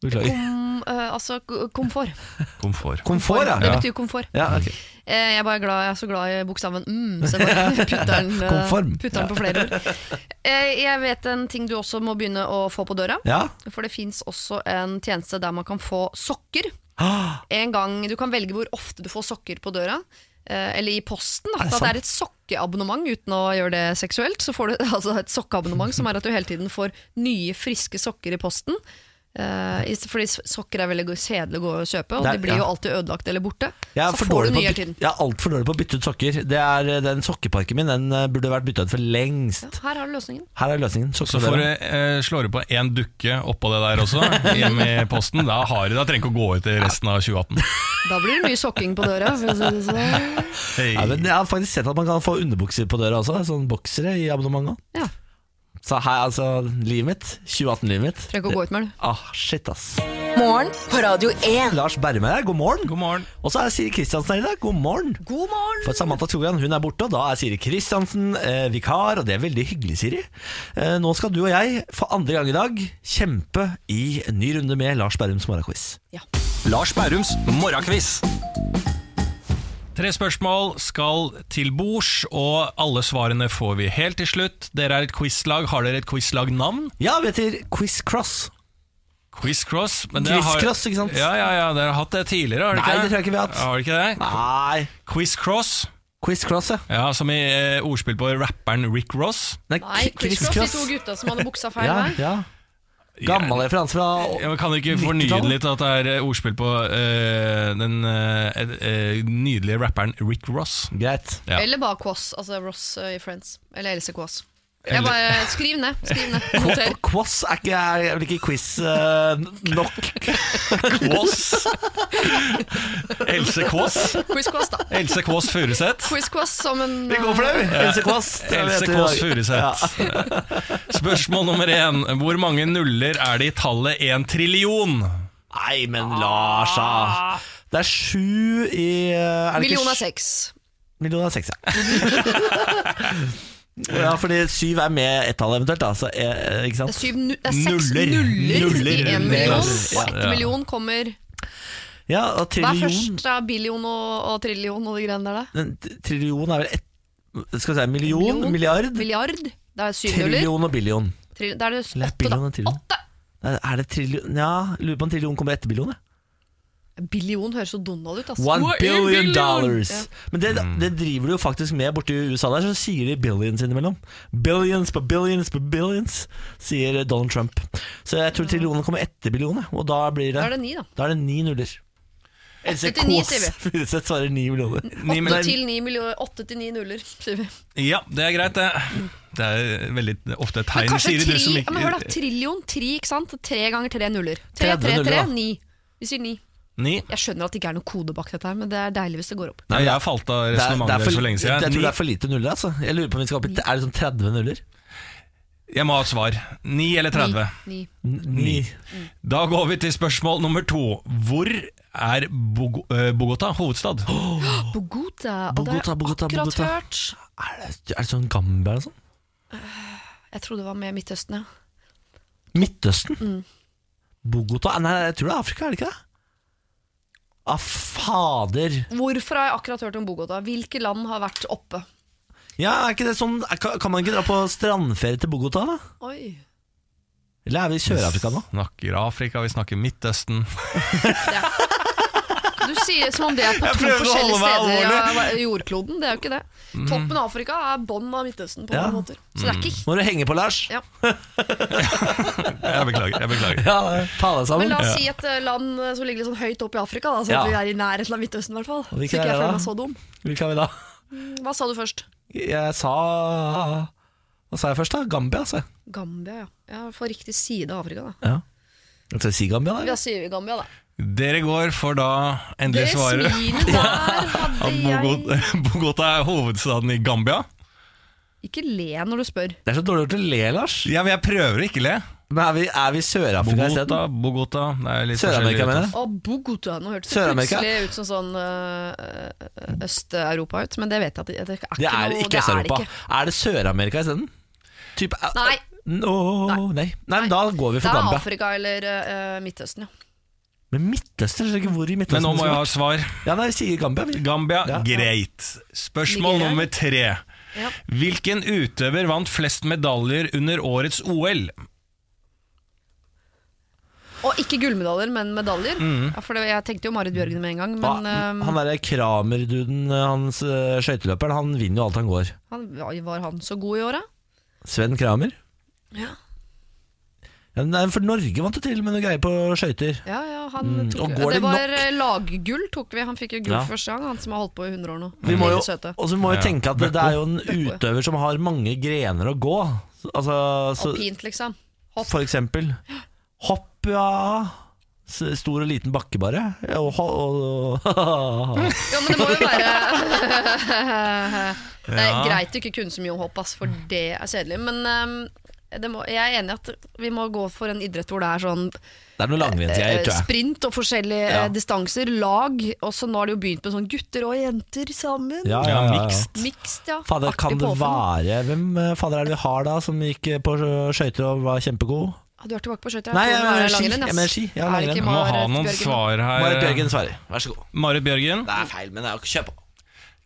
Beklager kom, eh, Altså, k- komfort. Komfort. Komfort, Det ja betyr komfort. Ja, ok Eh, Jeg er bare glad, jeg er så glad i bokstaven mm, så jeg bare putter den, eh, Konform. putter den på flere ord. Eh, Jeg vet en ting du også må begynne å få på døra. Ja, For det fins også en tjeneste der man kan få sokker. En gang, Du kan velge hvor ofte du får sokker på døra. eh, Eller i posten. Da, Er det at det sant? er et sokkeabonnement uten å gjøre det seksuelt. Så får du altså, et sokkeabonnement som er at du hele tiden får nye, friske sokker i posten. Eh, i- fordi s- sokker er veldig go- kjedelig å gå og kjøpe, og Det er- de blir jo ja. alltid ødelagt eller borte. Jeg er så for får dårlig du på, å nye hele byt- tiden. jeg er altfor dårlig på å bytte ut sokker. Det er eh, Den sokkeparken min den eh, burde vært bytta ut for lengst. Her har du løsningen. Her er løsningen. Så får du, Sokkesoldater. eh, slår du på én dukke oppå det der også, hjem i posten. Da har du da trenger du ikke å gå ut i resten av 2018. Da blir det mye sokking på døra. For å si det sånn. Hey. Ja, men jeg har faktisk sett at man kan få underbukser på døra også. Sånn boksere i abonnement også. Ja, Så her, altså, livet mitt. 2018-livet mitt. trenger ikke å gå ut med det. Ah, shit, ass. Morgen på Radio 1. Lars Berrum er her, god morgen. God morgen. Og så er Siri Kristiansen her i dag, god morgen. God morgen! For Samantha Skogran hun er borte, og da er Siri Kristiansen eh, vikar. Og det er veldig hyggelig, Siri. Eh, nå skal du og jeg for andre gang i dag kjempe i en ny runde med Lars Berrums morgenquiz. Lars Bærums morgenquiz. Tre spørsmål skal til bords, og alle svarene får vi helt til slutt. Dere er et quizlag. Har dere et quizlagnavn? Ja, vi heter Quiz Cross. Quizcross. men dere har- Quizcross, ikke sant? Ja, ja, ja, dere har hatt det tidligere, har dere Nei, ikke det tror jeg ikke vi har hatt. Har dere ikke det? Nei, Quizcross, Quiz Cross, ja. ja, som i eh, ordspill på rapperen Rick Ross. Nei, Chris Cross, de to gutta som hadde buksa feil Ja, vei. ja. Gammel referanse Ja, fra men kan du ikke fornye det litt at det er eh, ordspill på eh, den eh, eh, nydelige rapperen Rick Ross? Greit. Ja. Eller bare Kåss, altså Ross eh, i Friends. Eller Else Kåss. Jeg Eller- bare, skriv ned. skriv ned Noter. Quass er ikke, er vel ikke quiz eh, nok. Kåss! Else Kåss. Quiz Kåss, da. Else Kåss Furuseth. Quiz Kåss som en Vi går for det, vi. Else Kåss. det er det vi Else heter i Kåss dag. Furuseth. Spørsmål nummer én. Hvor mange nuller er det i tallet én trillion? Nei, men Ah. Lars, da. Det er sju i eh, er det ikke Million av sj- seks. Million er seks, ja. ja, fordi syv er med ett-tall eventuelt, da. Så, eh, ikke Det er, sant? syv, nu- det er seks Nuller. nuller, i Nuller. én million. Nuller. Og ett Ja. million kommer Ja, og Hva er trillion først? da? Billion og, og trillion og de greiene der, da? men t- Trillion er vel ett Skal vi si million, Million. milliard, Milliard? Det er syv nuller. trillion og billion. Tri da er det Eller er åtte, billion og da. trillion? Åtte! Nei, Er det trillion Ja, lurer på om trillion kommer etter billion. jeg. Billion høres så Donald ut, altså. One billion Ja. dollars! Men det, Mm. det driver du jo faktisk med borti USA der, så sier de billions innimellom. Billions på billions på billions, sier Donald Trump. Så jeg tror trillionen kommer etter billionen, og da blir Da Mm. det er det ni, da. Da er det ni nuller. Else til ni, Kåss sier vi. Furuseth svarer ni millioner. Ni Åtte mil- til ni millioner, åtte til ni nuller, sier vi. Ja, det er greit, det. Det er veldig ofte et Men tegn, kanskje sier tri, du som ja, men hør da, ikke trillion, tri, ikke sant? Tre ganger tre nuller. Tre, Tredve tre, nuller, da. tre, ni. Vi sier ni. Ni. Jeg skjønner at det ikke er noe kode bak dette her, men det er deilig hvis det går opp. Nei, jeg falt av Det er- det er resonnementet for- deres for lenge Jeg tror siden. det er for lite nuller, altså. Jeg lurer på om vi skal opp i Er det sånn 30 nuller? Ni. Jeg må ha et svar. Ni eller 30? Ni. N- Ni. Da går vi til spørsmål nummer to. Hvor er Bog eh, Bogota hovedstad? Bogota. Og det har Bogota, jeg Bogota, akkurat Bogota. hørt. Er det, er det sånn Gambia eller sånn? Jeg trodde det var med Midtøsten, ja. Midtøsten? Bogota? Nei, jeg tror det er Afrika, er det ikke det? Ah, fader. Hvorfor har jeg akkurat hørt om Bogota? Hvilke land har vært oppe? Ja, er ikke det sånn er- Kan kan man ikke dra på strandferie til Bogota, da? Oi. Eller er vi i Sør-Afrika nå? Snakker Afrika, vi snakker Midtøsten. Du sier som om det er på Jeg to prøvde å forskjellige holde meg steder av jordkloden. Det er jo ikke det. Toppen av Afrika er bånn av Midtøsten på Ja. mange måter. Så det er ikke Må du henge på, Lars? ja. Jeg beklager. jeg beklager Ja, ta deg Men sammen. la oss si et eh, land eh, som ligger litt sånn høyt opp i Afrika, da, så Ja. vi er i nærheten av Midtøsten i hvert fall. Så hvilket er ikke jeg det, føler meg da? så dum. Hvilke har vi da? Hva sa du først? Jeg sa Hva sa jeg først, da? Gambia, sa jeg. Gambia, ja. ja for riktig side av Afrika, da. Ja. Skal jeg si Gambia, da? Ja, eller? sier vi Gambia, da. Dere går for da Det endelig svaret smilet der hadde at jeg Bogota, Bogota er hovedstaden i Gambia. Ikke le når du spør. Det er så dårlig gjort å le, Lars. Ja, men Jeg prøver å ikke le. Men er vi, er vi i Sør-Afrika isteden? Bogota, Bogota det er litt Sør-Amerika, forskjellig, mener jeg. Å, Bogota. Nå hørtes det Sør-Amerika. plutselig ut som sånn øh, øh, Øst-Europa ut, men det vet jeg at det, det er ikke Det er noe ikke Øst-Europa. ikke. Er det Sør-Amerika isteden? Typ Nei, eh, Nå- nei. nei. men da går vi det for er Gambia. Afrika eller øh, Midtøsten, ja. Men Midtøsten? Jeg skjønner ikke hvor i Men Midtøsten nå det må skulle jeg ha vært. et svar. Ja, nei, vi sier Gambia. vi. Gambia, Ja. greit. Spørsmål Nigeria. nummer tre. Ja. Hvilken utøver vant flest medaljer under årets OL? Og ikke gullmedaljer, men medaljer. Ja, for det, jeg tenkte jo Marit Bjørgen med en gang, Mm. Hva- men eh, han derre Kramer-duden, eh, hans eh, skøyteløperen, han vinner jo alt han går. han, var han så god i åra? Sven Kramer. Ja. Ja, men nei, for Norge vant jo til med noe greier på skøyter. Ja, ja, han tok, Mm. Og det, går det var nok? eh, laggull tok vi. Han fikk jo gull Ja. for første gang, han som har holdt på i 100 år nå. Vi må jo, Veldig søte. og så må vi Ja. tenke at det, det er jo en utøver som har mange grener å gå. Så- Altså, så, Alpint, liksom. Hopp. for eksempel hopp, ja. S- Stor og liten bakke, bare. Ja, Og, ho- og, Ja, men det må jo være Det er Ja. greit å ikke kunne så mye om hopp, ass, for det er kjedelig. Men ehm, det må, jeg er enig i at vi må gå for en idrett hvor det er sånn det er noe langrennsgreier, eh, tror jeg. sprint og forskjellige Ja. eh, distanser, lag. Og så nå har de jo begynt med sånn gutter og jenter sammen. Ja, ja, ja, ja. mixed. Mixed, ja. Fader, Artig kan det påfunn. være Hvem eh, fader er det vi har da, som gikk eh, på sjø- skøyter og var kjempegod? Ah, Du er tilbake på skøyter? Nei, tror jeg det var mener ski. langrenn, ass. Jeg mener ski. Ja, Er det langrenn. ikke Må ha Marit noen Bjørgen, da? svar her. Marit Bjørgen svarer. Vær så god. Marit Bjørgen. Det er feil, men det er jo ikke kjøp.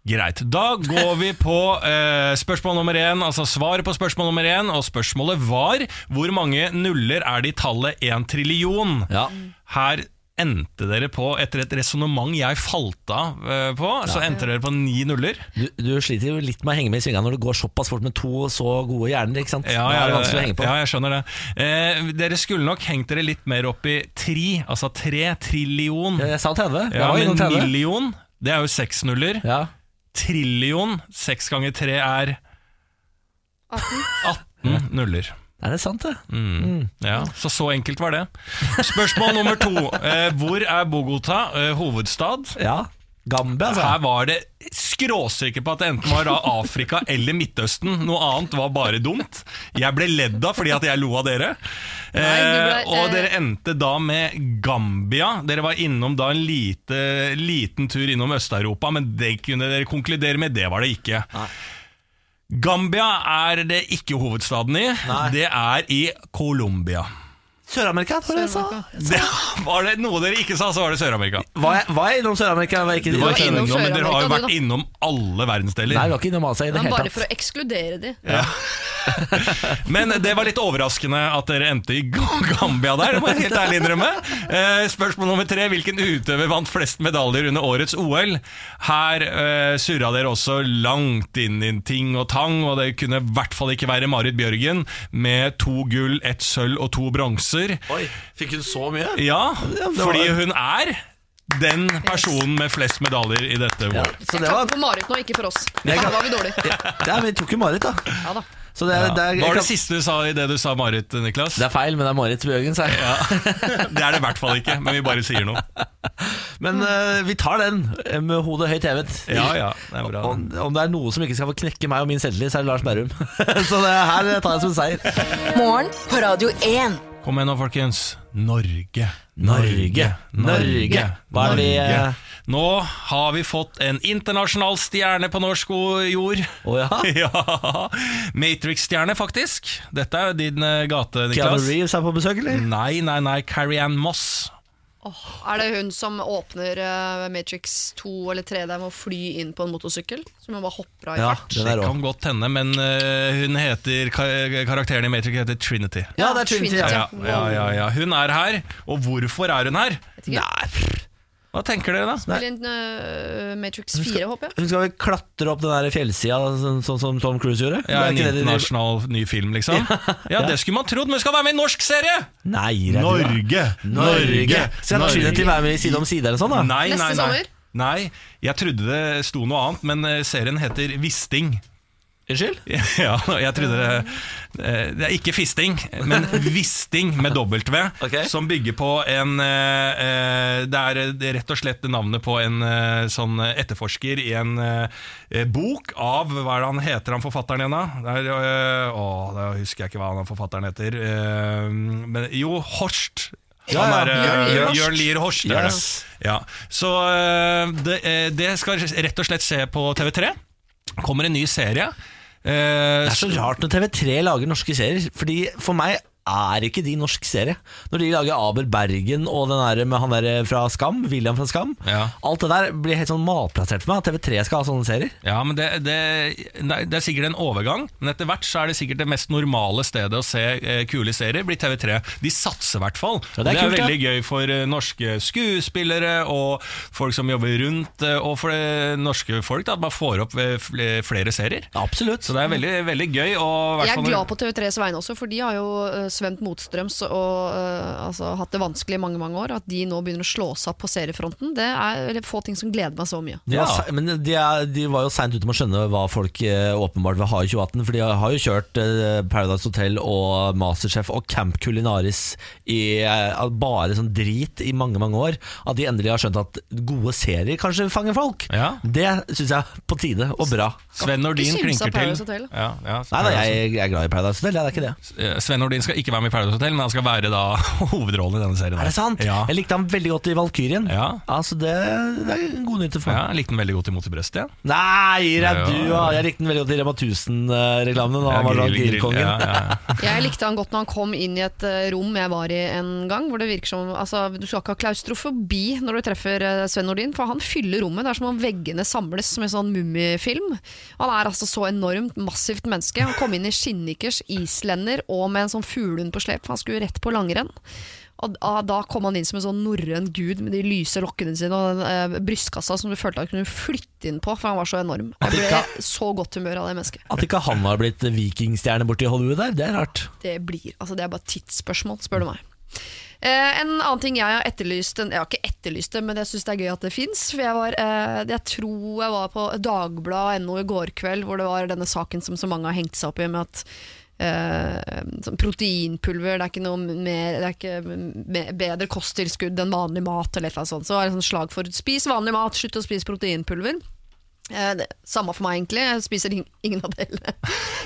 Greit. Da går vi på eh, spørsmål nummer én, altså svaret på spørsmål nummer én. Og spørsmålet var hvor mange nuller er det i tallet én trillion? Ja. Her endte dere på, etter et resonnement jeg falt av eh, på, så endte dere på ni nuller. Du, du sliter jo litt med å henge med i svingene når det går såpass fort med to så gode hjerner. ikke sant? Ja, da ja, er det ja, vanskelig å henge på. ja, jeg skjønner det. Eh, dere skulle nok hengt dere litt mer opp i tri, altså tre trillion. Ja, Jeg sa 30. Jeg Ja, var men innom 30. million, det er jo seks nuller. Ja. Trillion, seks ganger tre er 18 nuller. Er det sant, det? Ja, Så så enkelt var det. Spørsmål nummer to. Eh, hvor er Bogotá eh, hovedstad? Ja. Gambia, Her altså. var det skråsikker på at det enten var da Afrika eller Midtøsten. Noe annet var bare dumt. Jeg ble ledd av fordi at jeg lo av dere. Eh, Nei, du ble, og eh, dere endte da med Gambia. Dere var innom da en lite, liten tur innom Øst-Europa, men det kunne dere konkludere med, det var det ikke. Gambia er det ikke hovedstaden i. Det er i Colombia. Sør-Amerika, var det jeg sa. Det var det noe dere ikke sa, så var det Sør-Amerika. Var jeg, var jeg innom Sør-Amerika? eller Var jeg ikke Du var innom innom, men dere har jo Sør-Amerika, du, vært da. innom alle verdensdeler. Nei, vi var ikke innom Asia i det Men hele bare for å tatt. ekskludere de. Men det var litt overraskende at dere endte i Gambia der, det må jeg helt ærlig innrømme. Eh, Spørsmål nummer tre. Hvilken utøver vant flest medaljer under årets OL? Her eh, surra dere også langt inn i ting og tang, og det kunne i hvert fall ikke være Marit Bjørgen med to gull, ett sølv og to bronser. Oi, fikk hun så mye? Ja, det var- fordi hun er den personen med flest medaljer i dette Ja, OL. så Jeg det var klapper på Marit nå, ikke for oss. Jeg Da kan- var vi dårlige. ja, ja, Vi tok jo Marit, da. Ja da. Så det er, det er, Hva var det siste du sa i det du sa, Marit Niklas? Det er feil, men det er Marit Bjørgen, sa jeg. Det er det i hvert fall ikke, men vi bare sier noe. Men eh, vi tar den eh, med hodet høyt hevet. Ja, ja, det er bra. Om, om det er noe som ikke skal få knekke meg og min selvtillit, så er det Lars Berrum. så det her tar jeg som en seier. Morgen på Radio 1. Kom igjen nå, folkens. Norge. Norge. Norge. Hva er det vi, Norge. eh, Nå har vi fått en internasjonal stjerne på norsk o- jord. Å ja? Ja, Matrix-stjerne, faktisk. Dette er jo din eh, gate, Keanu Niklas. Reeves er på besøk, eller? Nei, nei, nei. Carrie Ann Moss. Åh, er det hun som åpner eh, Matrix 2 eller 3 der med å fly inn på en motorsykkel? Som hun bare hopper av i Ja, fart? den Det er rå. kan godt hende, men eh, hun heter, ka- karakteren i Matrix heter Trinity. Ja, det er Trinity. Ja. Ja, ja, ja, ja. Hun er her, og hvorfor er hun her? Nei, pff. Hva tenker dere, da? Eller en, eh, Matrix 4, håper jeg. hun skal vel klatre opp den der fjellsida, sånn, sånn som Tom Cruise gjorde? Det Ja, En er ikke det de driver- internasjonal ny film, liksom? Ja, det skulle man trodd, men hun skal være med i en norsk serie! Nei, det er ikke det. Norge! Skal Trinity være med i Side om side eller sånn, da? Nei, Neste nei, nei. sommer? Nei, jeg trodde det sto noe annet, men eh, serien heter Visting. Unnskyld? Ja, jeg trodde det eh, Det er ikke fisting, men visting med W. Ok. Som bygger på en eh, eh, Det er eh, rett og slett navnet på en eh, sånn etterforsker i en eh, bok av Hva er det han heter, han forfatteren igjen, da? Det er, eh, Å, da husker jeg ikke hva han forfatteren heter. Eh, Men jo, Horst. Ja, Han ja, er, eh, Jørn Lier Jørn Lier Horst. er det. Yes. Ja. Så eh, det, eh, det skal rett og slett se på TV3 kommer en ny serie. Eh, Det er så rart når TV3 lager norske serier. Fordi For meg er ikke de norsk serie. Når de lager Aber Bergen og den der med han der fra Skam, William fra Skam, Ja. alt det der blir helt sånn malplassert for meg. At TV3 skal ha sånne serier. Ja, men det, det, nei, det er sikkert en overgang, men etter hvert så er det sikkert det mest normale stedet å se eh, kule serier, blir TV3. De satser i hvert fall. Ja, det det er, er kult, veldig gøy for eh, norske skuespillere og folk som jobber rundt, eh, og for eh, norske folk da, at man får opp eh, fl- flere serier. Absolutt. Så det er veldig, veldig gøy. Og, Jeg er glad på TV3s vegne også, for de har jo eh, svømt motstrøms og eh, altså, hatt det vanskelig i mange mange år. At de nå begynner å slå seg opp på seriefronten, det er få ting som gleder meg så mye. De var, se- Men de, er, de var jo seint ute med å skjønne hva folk eh, åpenbart vil ha i 2018. For de har jo kjørt eh, Paradise Hotel og Masterchef og Camp Culinaris i eh, bare sånn drit i mange mange år. At de endelig har skjønt at gode serier kanskje fanger folk. Ja. Det syns jeg er på tide og bra. Sven Nordin synes av klinker Paradise til. Hotel. Ja, ja, så sånn. Nei, nei, Paradise- jeg, jeg er glad i Paradise Hotel, jeg, det er ikke det. Eh, Sven Nordin skal ikke være med i Paradise Hotel, men han skal være da hovedrollen i denne serien. Er det sant? Ja. Jeg likte han veldig godt i Valkyrien. Ja. Altså, det, det er god nytte for Ja, meg. jeg likte den veldig godt imot i brøstet. Ja. Nei, gir jeg Ja. du, ja. Jeg likte den veldig godt i Rema 1000-reklamen. Da Ja, han var da grill- grill- grillkongen. Ja, ja, ja. Jeg likte han godt når han kom inn i et eh, rom jeg var i en gang, hvor det virker som altså, Du skal ikke ha klaustrofobi når du treffer eh, Sven Nordin, for han fyller rommet. Det er som om veggene samles som en sånn mummifilm. Han er altså så enormt massivt menneske. Han kom inn i skinnnikkers, islender og med en sånn fuglehund på slep, for han skulle rett på langrenn. Og da, da kom han inn som en sånn norrøn gud med de lyse lokkene sine og den eh, brystkassa som du følte han kunne flytte inn på, for han var så enorm. Jeg ble så godt humør av det mennesket. At ikke han har blitt vikingstjerne borti Hollywood der, det er rart. Det blir, altså det er bare tidsspørsmål, spør du meg. Eh, en annen ting jeg har etterlyst en- Jeg har ikke etterlyst det, men jeg syns det er gøy at det fins. For jeg, var, eh, jeg tror jeg var på Dagbladet.no i går kveld, hvor det var denne saken som så mange har hengt seg opp i, med at eh, sånn proteinpulver Det er ikke noe mer Det er ikke me- bedre kosttilskudd enn vanlig mat, eller et eller annet sånt. Så var det sånn slag for spis vanlig mat, slutt å spise proteinpulver. Eh, det, samme for meg, egentlig. Jeg spiser ing- ingen av delene.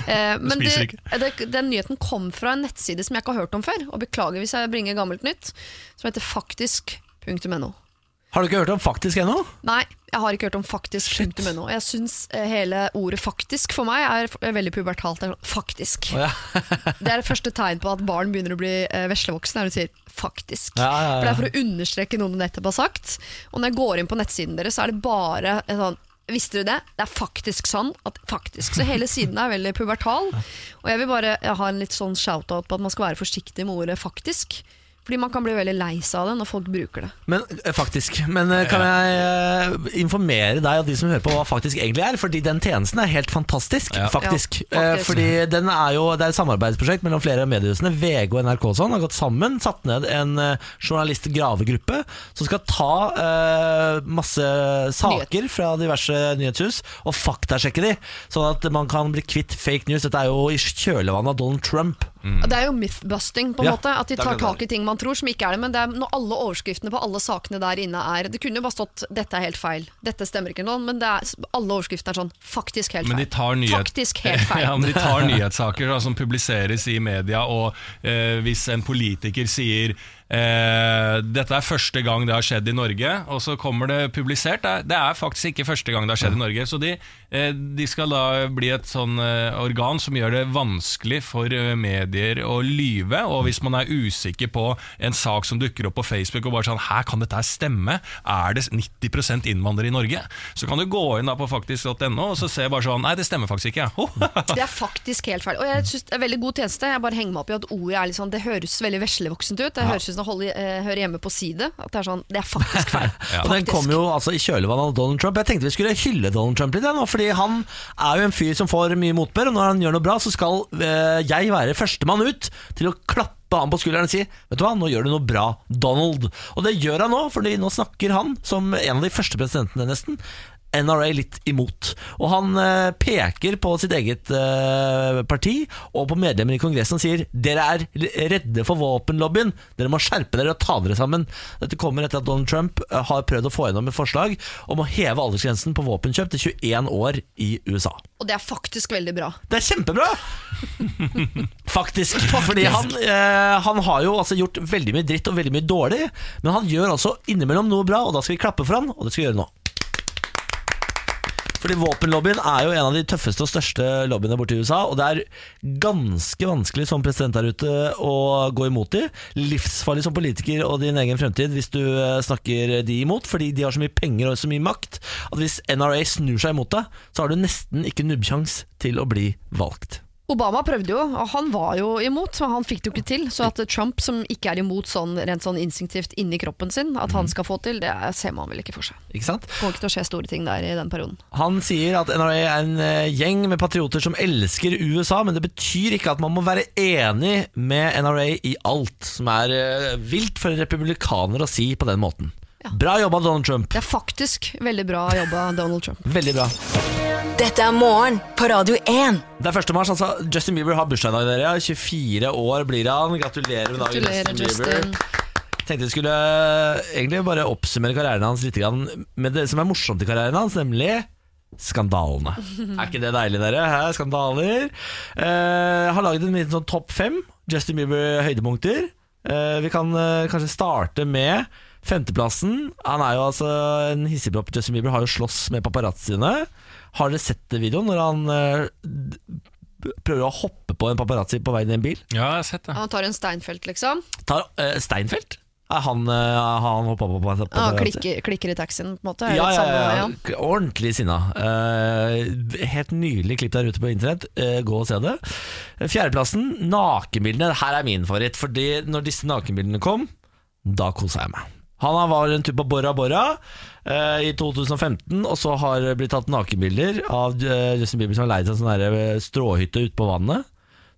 Eh, men spiser det, det, den nyheten kom fra en nettside som jeg ikke har hørt om før. Og beklager hvis jeg bringer gammelt nytt. Som heter faktisk.no. Har du ikke hørt om faktisk ennå? Nei, jeg har ikke hørt om faktisk.no. Jeg syns eh, hele ordet 'faktisk' for meg er f- er veldig pubertalt. Det er sånn, Faktisk. ja. Det er det første tegn på at barn begynner å bli eh, veslevoksne, er når du sier 'faktisk'. Ja, ja, ja. For det er for å understreke noe du nettopp har sagt. Og når jeg går inn på nettsiden deres, så er det bare en sånn Visste du det? Det er faktisk sånn. At faktisk. Så hele siden er veldig pubertal. Og jeg vil bare ha en litt sånn shout-out på at man skal være forsiktig med ordet 'faktisk'. Fordi man kan bli veldig lei seg av det når folk bruker det. Men, eh, faktisk. Men eh, kan jeg eh, informere deg og de som hører på hva faktisk egentlig er? Fordi den tjenesten er helt fantastisk, faktisk. Ja, Eh, faktisk. Fordi den er jo, det er et samarbeidsprosjekt mellom flere av mediehusene. VG og NRK og sånn har gått sammen, satt ned en eh, journalist-gravegruppe som skal ta eh, masse saker fra diverse nyhetshus og faktasjekke de, sånn at man kan bli kvitt fake news. Dette er jo i kjølvannet av Donald Trump. Det er jo mythbusting, på en Mm. Ja, måte. At de det er tar det det tak i ting man tror som ikke er det. Men det er når alle overskriftene på alle sakene der inne er Det kunne jo bare stått 'dette er helt feil', 'dette stemmer ikke', noen, men det er, alle overskriftene er sånn 'faktisk helt feil'. Men de tar nyhet- Faktisk helt feil. Ja, men de tar nyhetssaker da, som publiseres i media, og eh, hvis en politiker sier eh, dette er første gang det har skjedd i Norge, og så kommer det publisert. Det er, det er faktisk ikke første gang det har skjedd i Norge. Så de, eh, de skal da bli et sånn eh, organ som gjør det vanskelig for eh, medier å lyve. Og hvis man er usikker på en sak som dukker opp på Facebook, og bare sånn Her kan dette her stemme? Er det 90 innvandrere i Norge? Så kan du gå inn da på faktisk.no og så se bare sånn Nei, det stemmer faktisk ikke. Oh, Det er faktisk helt feil. Og jeg synes det er veldig god tjeneste. Jeg bare henger meg opp i at ordet er litt sånn Det høres veldig veslevoksent ut. Det høres ut som det holder, eh, hører hjemme på side. At det er sånn Det er faktisk feil. Og den kom jo altså i kjølvannet av Donald Trump. Jeg tenkte vi skulle hylle Donald Trump litt, jeg, nå, fordi han er jo en fyr som får mye motbør, og når han gjør noe bra, så skal eh, jeg være førstemann ut til å klappe han på skulderen og si Vet du hva, nå gjør du noe bra, Donald. Og det gjør han nå, fordi nå snakker han, som en av de første presidentene nesten, NRA litt imot. Og han eh, peker på sitt eget eh, parti og på medlemmer i Kongressen og sier dere er l- redde for våpenlobbyen, dere må skjerpe dere og ta dere sammen. Dette kommer etter at Donald Trump eh, har prøvd å få gjennom et forslag om å heve aldersgrensen på våpenkjøp til 21 år i USA. Og det er faktisk veldig bra. Det er kjempebra! Faktisk. Fordi han, eh, han har jo altså gjort veldig mye dritt og veldig mye dårlig, altså men han gjør også innimellom noe bra, og da skal vi klappe for han, og det skal vi gjøre nå. Fordi våpenlobbyen er jo en av de tøffeste og største lobbyene borti USA, og det er ganske vanskelig som president der ute å gå imot de. Livsfarlig som politiker og din egen fremtid hvis du eh, snakker de imot, fordi de har så mye penger og så mye makt at hvis NRA snur seg imot deg, så har du nesten ikke nubbsjans til å bli valgt. Obama prøvde jo, og han var jo imot, men han fikk det jo ikke til. Så at Trump, som ikke er imot sånn rent sånn instinktivt inni kroppen sin, at Mhm. han skal få til, det ser man vel ikke for seg. Ikke sant? Det kommer ikke til å skje store ting der i den perioden. Han sier at NRA er en eh, gjeng med patrioter som elsker USA, men det betyr ikke at man må være enig med NRA i alt, som er eh, vilt for en republikaner å si på den måten. Bra jobba, Donald Trump. Det er faktisk veldig bra jobba, Donald Trump. Veldig bra. Dette er morgen på Radio 1. Det er 1. mars, altså. Justin Bieber har bursdag i dag, dere. 24 år blir han. Gratulerer med dagen, Gratulerer, Justin Bieber. Justin. Tenkte vi skulle eh, egentlig bare oppsummere karrieren hans litt grann med det som er morsomt i karrieren hans, nemlig skandalene. Er ikke det deilig, dere? Hæ? Skandaler. Eh, har laget en liten sånn topp fem Justin Bieber-høydepunkter. Eh, vi kan eh, kanskje starte med femteplassen. Han er jo altså en hissigpropp. Justin Bieber har jo slåss med paparazziene. Har dere sett videoen når han eh, d- prøver å hoppe på en paparazzi på vei ned i en bil? Ja, jeg har sett det. Han tar en Steinfeld, liksom. Tar eh, Steinfeld? Er han, eh, har han hoppa på en Han paparazzi? klikker, klikker i taxien, på en måte. Er altså. Ja, litt ja, samme ja, vei, ja. han. K- Ordentlig sinna. Eh, helt nydelig klipp der ute på internett. Eh, gå og se det. Fjerdeplassen, nakenbildene. Her er min favoritt. Fordi når disse nakenbildene kom, da kosa jeg meg. Han var en tur på Bora Bora eh, i 2015, og så har det blitt tatt nakenbilder av eh, Justin Bieber som har leid seg en sånn her, eh, stråhytte ute på vannet.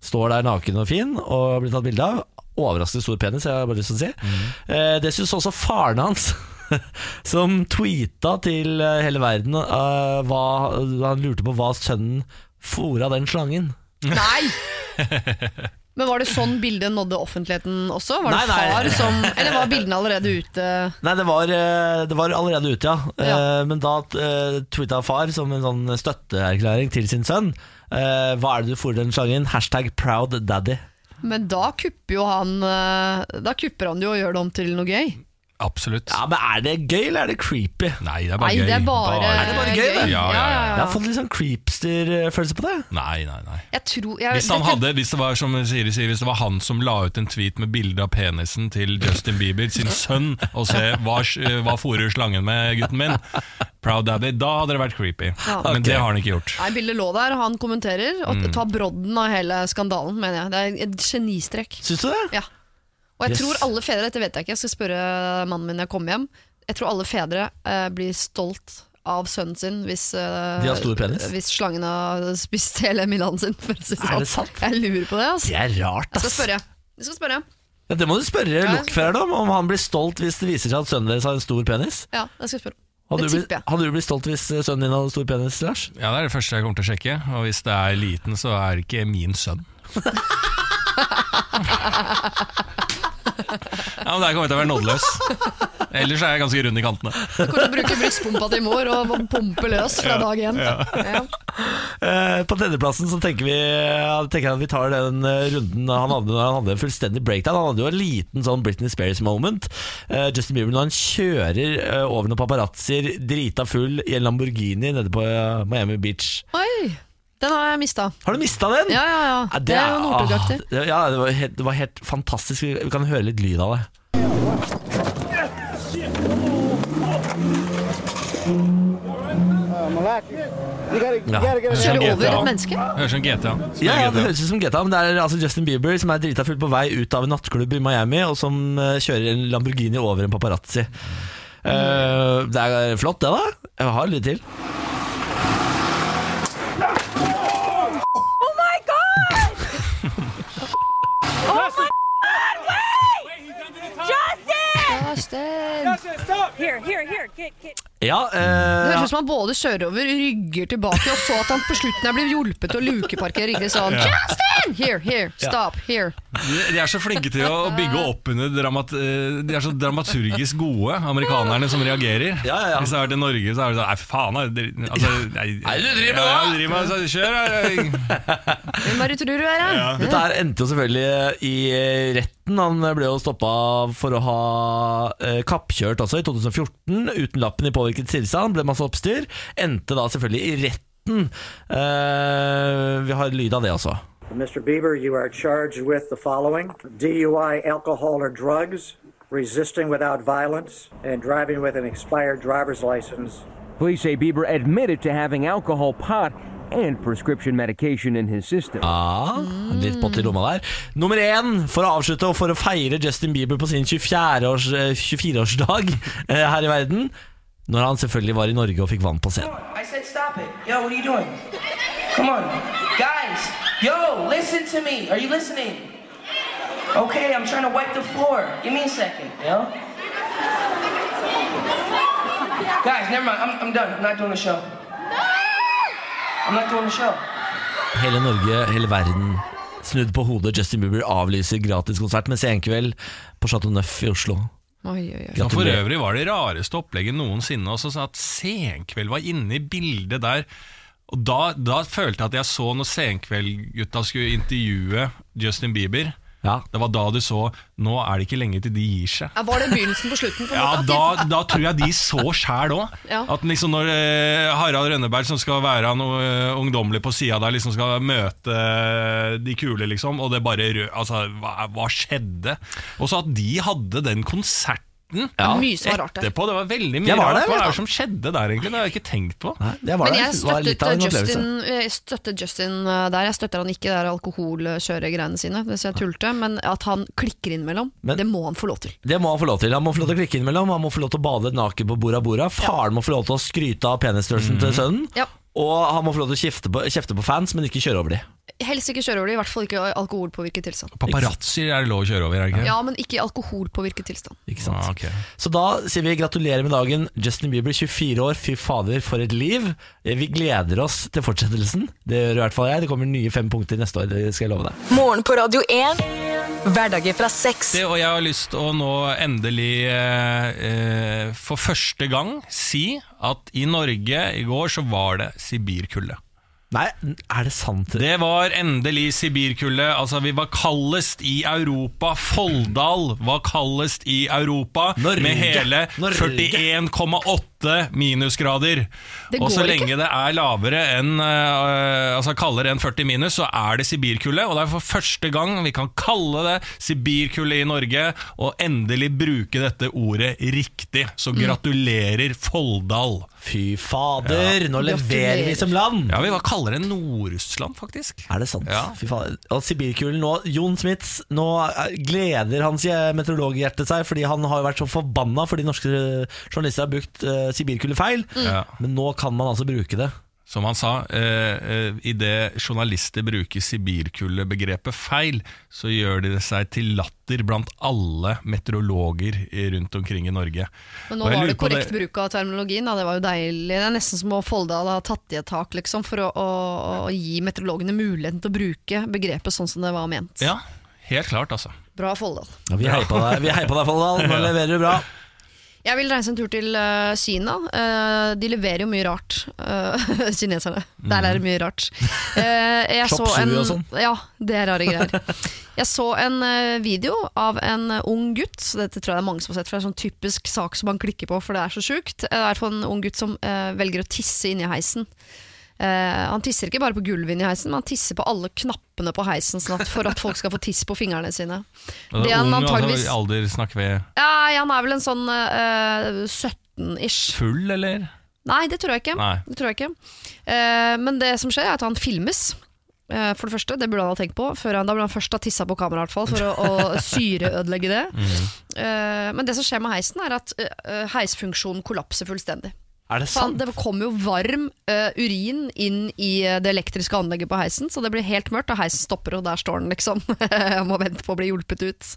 Står der naken og fin og blir tatt bilde av. Overraskende stor penis, jeg har bare lyst til å si. Eh, det syns også faren hans, som tweeta til eh, hele verden eh, hva, Han lurte på hva sønnen fôra den slangen. Nei! Men var det sånn bildet nådde offentligheten også? Var Nei, det nei. far som Eller var bildene allerede ute? Nei, det var, eh, det var allerede ute, ja. Eh, Ja. Men da uh, tweeta far som en sånn støtteerklæring til sin sønn. eh, hva er det du fôrer den slangen? Hashtag proud daddy. Men da kupper jo han eh, Da kupper han det jo og gjør det om til noe gøy. Absolutt. Ja, men Er det gøy, eller er det creepy? Nei, det er bare Nei, gøy. det er bare, Er det bare gøy, det? Ja, ja, ja. Jeg har fått litt sånn creepster-følelse på det. Nei, nei, nei. Jeg tror, jeg, Hvis, han dette- hadde, hvis, det var, som Siri sier, hvis det var han som la ut en tweet med bilde av penisen til Justin Bieber, sin sønn, og se hva, hva fôrer slangen med, gutten min, Proud Daddy, da hadde det vært creepy. Ja. Men det har han ikke gjort. Nei, Bildet lå der, han kommenterer. Og tar brodden av hele skandalen, mener jeg. Det er et genistrek. Syns du det? Ja. Og jeg Yes. tror alle fedre, dette vet jeg ikke, jeg skal spørre mannen min når jeg kommer hjem. Jeg tror alle fedre eh, blir stolt av sønnen sin hvis, eh, De har stor penis? hvis slangen har spist hele middagen sin. For å si sånn. Er det sant? Jeg lurer på det. Altså. Det er rart, Jeg skal ass. spørre. Jeg skal spørre. Ja, det må du spørre Ja. lokføreren om, om han blir stolt hvis det viser seg at sønnen deres har en stor penis. Ja, jeg skal spørre. Hadde Det du, blitt, tipper jeg. hadde du blitt stolt hvis eh, sønnen din hadde stor penis, Lars? Ja, Det er det første jeg kommer til å sjekke. Og hvis det er liten, så er det ikke min sønn. Ja, men Der kommer jeg til å være nådeløs. Ellers er jeg ganske rund i kantene. Du kommer til å bruke brystpumpa til mor og pumpe løs fra dag én. Ja. Eh, på tredjeplassen så tenker, vi, ja, tenker jeg at vi tar den eh, runden han hadde når han hadde en fullstendig breakdown. Han hadde jo en liten sånn Britney Spears moment. Eh, Justin Bieber når han kjører eh, over noen paparazzier, drita full, i en Lamborghini nede på eh, Miami Beach. Oi, den har jeg mista. Har du mista den? Ja, ja, ja. Det er jo Northug-aktig. ah, det- Ja, det var, helt, det var helt fantastisk. Vi vi kan høre litt lyd av det. Ja. Kjøre GTA. over et menneske? Høres som GTA. Ja, ja, det Spiller GTA. høres ut som GTA, men det er altså Justin Bieber som er drita full på vei ut av en nattklubb i Miami, og som eh, kjører en Lamborghini over en paparazzi. Eh, det er flott, det, da. Jeg har litt til. Ja, Det eh, høres ut som han både kjører over, rygger tilbake, og så at han på slutten her blir hjulpet til å lukeparkere riktig sånn. Justin! Here, here, stop, here. De de er så flinke til å bygge opp under dramat, eh, De er så dramaturgisk gode, amerikanerne som reagerer. Ja, ja, ja. Hvis det har vært i Norge, så er det sånn Nei, for faen, da, dere- altså, nei, Nei, du driver med det, ja, da!» jeg driver med det, så Kjør, da, jeg- Hvem er det du tror du er? Dette her endte jo selvfølgelig i retten, Gulbrandsen Han ble jo stoppa for å ha eh, kappkjørt også i 2014, uten lappen i påvirket tilstand. Ble masse oppstyr. Endte da selvfølgelig i retten. Eh, vi har lyd av det også. Mr. Bieber, you are charged with the following DUI, alcohol or drugs, resisting without violence, and driving with an expired driver's license. Police say Bieber admitted to having alcohol, pot, and prescription medication in his system. Ja, litt pott i lomma der. Nummer én, for å avslutte og for å feire Justin Bieber på sin 24-års, eh, 24-årsdag eh, her i verden. Når han selvfølgelig var i Norge og fikk vann på scenen. I said, stop it. Yo, what are you doing? Come on. Guys, yo, listen to me. Are you listening? Okay, I'm trying to wipe the floor. Give me a second, yo. Guys, never mind. I'm, I'm done. I'm not doing the show. I'm not doing the show. Hele Norge, hele verden snudd på hodet. Justin Bieber avlyser gratiskonsert med senkveld på Chateau Neuf i Oslo. Oi, oi, oi. Ja, for Gratulerer. øvrig var det rareste opplegget noensinne også, sånn at Senkveld var inne i bildet der. Og da, da følte jeg at jeg så når Senkveld-gutta skulle intervjue Justin Bieber. Ja. Det var da du så Nå er det ikke lenge til de gir seg. Ja, var det begynnelsen på slutten? på en Ja, måte? da, da tror jeg de så sjæl òg. Ja. At liksom når eh, Harald Rønneberg, som skal være noe eh, ungdommelig på sida der, liksom skal møte eh, de kule, liksom, og det bare rød Altså, hva, hva skjedde? Og så at de hadde den konserten Ja, mye som var rart der. etterpå. Det var veldig mye Jeg var rart. der, Hva vet er du. det som skjedde der, egentlig? Det har jeg ikke tenkt på. Nei, det var Men det. jeg Det var litt av en støttet opplevelse. Justin, jeg støttet Justin eh, der. Jeg støtter han ikke i det der alkoholkjøregreiene sine, hvis jeg tulte. Men at han klikker innimellom, Men- det må han få lov til. Det må han få lov til. Han må få lov til å klikke innimellom, han må få lov til å bade naken på Bora Bora. Faren må få lov til å skryte av penisstørrelsen Mhm. til sønnen. Ja. Og han må få lov til å kjefte på, kjefte på fans, men ikke kjøre over de. Helst ikke kjøre over det, i hvert fall ikke i alkoholpåvirket tilstand. Paparazzi er det lov å kjøre over, er det ikke? Ja, men ikke i alkoholpåvirket tilstand. Ikke sant? Ah, ok. Så da sier vi gratulerer med dagen, Justin Bieber, 24 år, fy fader, for et liv. Eh, Vi gleder oss til fortsettelsen. Det gjør i hvert fall jeg. Det kommer nye fem punkter neste år, det skal jeg love deg. Morgen på Radio 1. Hverdager fra seks. Det, og jeg har lyst til å nå endelig eh, eh, for første gang si at i Norge i går så var det sibirkulde. Nei, er det sant? Det var endelig Sibirkulde. Altså, vi var kaldest i Europa. Folldal var kaldest i Europa Norge, med hele Norge. 41,8 minusgrader. Det Og så går ikke. lenge det er lavere enn eh, altså kaldere enn 40 minus, så er det Sibirkulde. Og det er for første gang vi kan kalle det Sibirkulde i Norge, og endelig bruke dette ordet riktig. Så Mm. gratulerer, Folldal. Fy fader, nå leverer vi Gratulerer. som land! Ja, vi var kaldere enn Nord-Russland, faktisk. Er det sant? Ja. Fy faen. Og Sibirkulen nå, Jon Smits, nå eh, gleder hans eh, meteorologhjerte seg, fordi han har jo vært så forbanna fordi norske eh, journalister har brukt uh, sibirkule feil. Mm. Ja. Men nå kan man altså bruke det. Som han sa, eh, eh, idet journalister bruker sibirkulde-begrepet feil, så gjør de det seg til latter blant alle meteorologer i- rundt omkring i Norge. Men Og nå jeg var lurer det på korrekt bruk av terminologien, da. det var jo deilig. Det er nesten som å Folldal ha tatt i et tak, liksom, for å, å, å gi meteorologene muligheten til å bruke begrepet sånn som det var ment. Ja, helt klart, altså. Bra Folldal. Ja, vi heier på deg, vi heier på deg Folldal. Nå leverer du bra. Jeg vil reise en tur til eh, Kina. Eh, de leverer jo mye rart, eh, kineserne. Der er det mye rart. Uh, jeg Chop Mhm. så suey en, og sånn. Ja, det er rare greier. Jeg så en eh, video av en eh, ung gutt. så Dette tror jeg det er mange som har sett, for det er sånn typisk sak som man klikker på, for det er så sjukt. Eh, Det er for en ung gutt som eh, velger å tisse inni heisen. Eh, han tisser ikke bare på gulvet inni heisen, men han tisser på alle knappene på heisen, sånn at, for at folk skal få tiss på fingrene sine. Og Det er han ung, altså, antageligvis- Alder snakker ved Ja, han er vel en sånn eh, 17-ish. full, eller? Nei, det tror jeg ikke. Nei. Det tror jeg ikke. Eh, men det som skjer, er at han filmes. Eh, for det første, det burde han ha tenkt på. Før han, da burde han først ha tissa på kamera, i hvert fall, for å, å syreødelegge det. Mm. Eh, men det som skjer med heisen, er at eh, heisfunksjonen kollapser fullstendig. Er det Faen, sant? det kommer jo varm eh, urin inn i eh, det elektriske anlegget på heisen, så det blir helt mørkt, og heisen stopper, og der står den, liksom. Jeg Må vente på å bli hjulpet ut.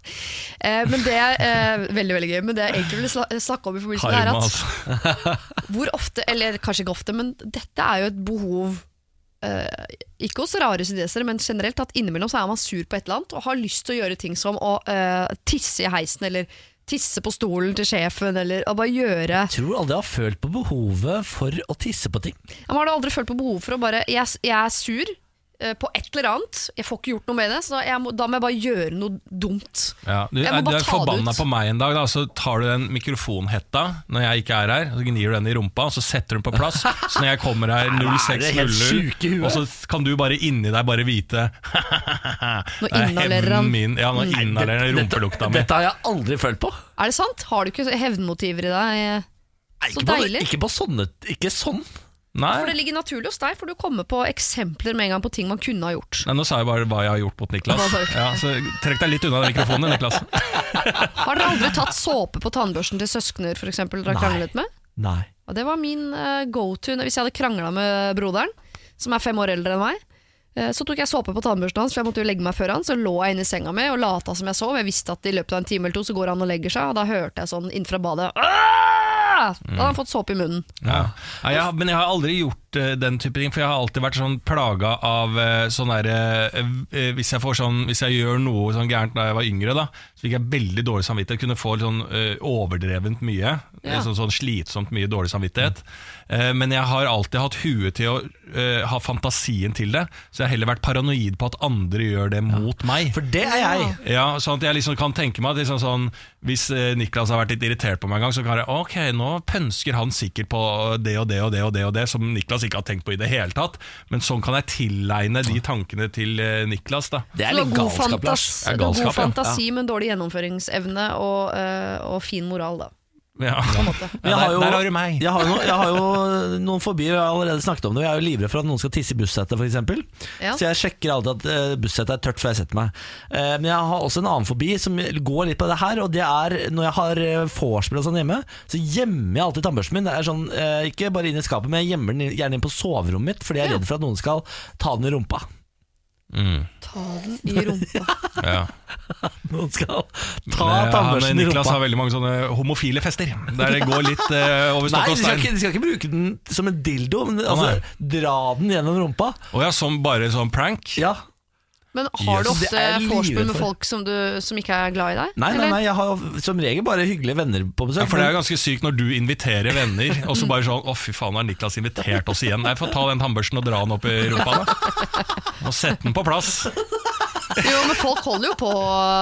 Eh, men det er eh, veldig, veldig gøy. Men det jeg egentlig ville sla- snakke om i forbindelse med, det Karma, er at altså. hvor ofte, eller kanskje ikke ofte, men dette er jo et behov eh, Ikke hos rare kinesere, men generelt at innimellom så er man sur på et eller annet og har lyst til å gjøre ting som å eh, tisse i heisen eller tisse på stolen til sjefen eller å bare gjøre Jeg tror aldri jeg har følt på behovet for å tisse på ting. Man har du aldri følt på behov for å bare Jeg, jeg er sur. eh, på et eller annet. Jeg får ikke gjort noe med det, så jeg må, da må jeg bare gjøre noe dumt. Ja, du, Jeg må er, du bare ta er det forbanna ut. på meg en dag, da, så tar du den mikrofonhetta når jeg ikke er her, og så gnir du den i rumpa, og så setter du den på plass. Så når jeg kommer her Er dere helt syke i 06.00, huet? og så kan du bare inni deg bare vite Nå det er inhalerer hevnen han. min. Ja, nå Mm. inhalerer han rumpelukta mi. Dette har jeg aldri følt på. Er det sant? Har du ikke hevnmotiver i deg? Så Ikke på, deilig. ikke på sånne Ikke sånn. For det ligger naturlig hos deg, for du kommer på eksempler med en gang på ting man kunne ha gjort. Nei, nå sa jeg bare hva jeg har gjort mot Hva Niklas. sa du? Ja, så Trekk deg litt unna den mikrofonen, Niklas. Har dere aldri tatt såpe på tannbørsten til søskner, f.eks.? Dere har Nei. kranglet med? Nei. Og det var min eh, go-to hvis jeg hadde krangla med broderen, som er fem år eldre enn meg. eh, Så tok jeg såpe på tannbørsten hans, for jeg måtte jo legge meg før han. Så lå jeg inne i senga mi og lata som jeg sov. Jeg visste at i løpet av en time eller to så går han og legger seg, og da hørte jeg sånn innenfra badet «Aah!» Da Mm. hadde han fått såpe i munnen. Ja. Nei, jeg, har- men jeg har aldri gjort eh, den type ting, for jeg har alltid vært sånn plaga av eh, sånn der eh, eh, hvis, jeg får sånn, hvis jeg gjør noe sånn gærent da jeg var yngre, da, så fikk jeg veldig dårlig samvittighet. Kunne få litt sånn eh, overdrevent mye. Ja. eh, Sånn, sånn slitsomt mye dårlig samvittighet. Eh, men jeg har alltid hatt huet til å eh, ha fantasien til det, så jeg har heller vært paranoid på at andre gjør det mot meg. For det er jeg. Ja, sånn at jeg liksom kan tenke meg at liksom sånn, Hvis eh, Niklas har vært litt irritert på meg en gang Så kan jeg, ok, nå pønsker han sikkert på det og det og det og det og det Som Niklas ikke har tenkt på i det hele tatt Men sånn kan jeg tilegne de tankene til eh, Niklas da Det Så god fantas- Ja, du har god galskap, ja. fantasi, men dårlig gjennomføringsevne og, eh, og fin moral, da. Ja, Men Jeg har jo, der, der har du meg Jeg har jo, jeg har jo noen fobier, jeg har allerede snakket om det. og Jeg er jo livredd for at noen skal tisse i bussetet, f.eks. Ja. Så jeg sjekker alltid at eh, bussetet er tørt før jeg setter meg. Eh, Men jeg har også en annen fobi som går litt på det her, og det er når jeg har eh, vorspiel og sånn hjemme, så gjemmer jeg alltid tannbørsten min. Det er sånn, eh, Ikke bare inn i skapet, men jeg gjemmer den gjerne inn på soverommet mitt, fordi jeg er redd for at noen skal ta den i rumpa. Ta den i rumpa. Ja. Noen skal ta Men, eh, tannbørsten han, i Niklas rumpa. har veldig mange sånne homofile fester Der det går litt eh, Nei, over stokk de skal, og stein ikke, de skal ikke bruke den som en dildo, men nei. altså, dra den gjennom rumpa. Åja, som bare sånn prank Ja Men har Yes. du Det er jeg ofte vorspiel med livredd for. folk som, du, som ikke er glad i deg? Nei, nei, eller? nei, jeg har jo som regel bare hyggelige venner på besøk. Ja, for Det er jo men- ganske sykt når du inviterer venner, og så bare sånn 'Å, fy faen, har Niklas invitert oss igjen?' Nei, få ta den tannbørsten og dra den opp i rumpa, da. Og sette den på plass. Jo, men folk holder jo på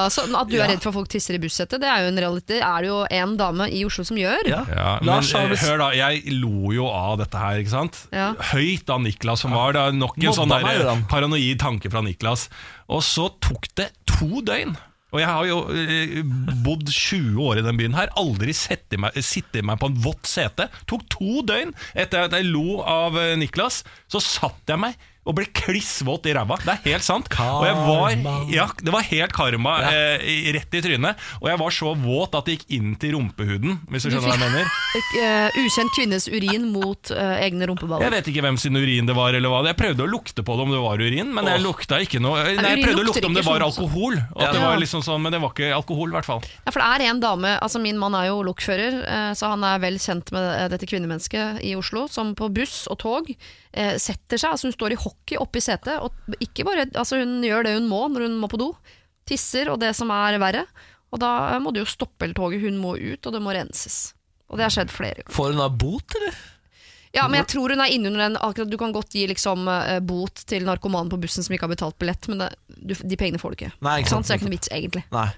sånn At du Ja. er redd for at folk tisser i bussetet, det er jo en realitet. Det er det jo en dame i Oslo som gjør. Ja, men Lars har eh, vel- hør, da. Jeg lo jo av dette her, ikke sant? Ja. Høyt av Niklas som var. Det er nok en Mobba sånn der, meg, gjorde han. eh, paranoid tanke fra Niklas. Og så tok det to døgn. Og jeg har jo eh, bodd 20 år i den byen her, aldri sett i meg, sittet meg på en vått sete. Tok to døgn etter at jeg lo av eh, Niklas, så satt jeg meg og ble klissvåt i ræva. Det er helt sant. Og jeg var, ja, det var helt karma eh, i- rett i trynet. Og jeg var så våt at det gikk inn til rumpehuden, hvis du skjønner hva jeg mener. Eh, ukjent kvinnes urin mot eh, egne rumpeballer. Jeg vet ikke hvem sin urin det var, eller hva. Jeg prøvde å lukte på det om det var urin, men jeg Åh. lukta ikke noe Ja, Nei, urin jeg prøvde å lukter lukte om det ikke var sånn. alkohol, og at det Ja. var liksom sånn, men det var ikke alkohol, i hvert fall. Ja, for det er en dame, altså Min mann er jo lokfører, eh, så han er vel kjent med eh, dette kvinnemennesket i Oslo, som på buss og tog eh, setter seg. altså Hun står i hockey oppe i setet, og ikke bare, altså hun gjør det hun må når hun må på do. Tisser og det som er verre. Og da eh, må du jo stoppe hele toget, hun må ut, og det må renses. Og det har skjedd flere ganger. Får hun da bot, eller? Ja, men jeg tror hun er innunder den akkurat Du kan godt gi liksom eh, bot til narkomanen på bussen som ikke har betalt billett, men det, du, de pengene får du ikke. Nei, ikke sant. Så det er ikke noe vits, egentlig. Nei.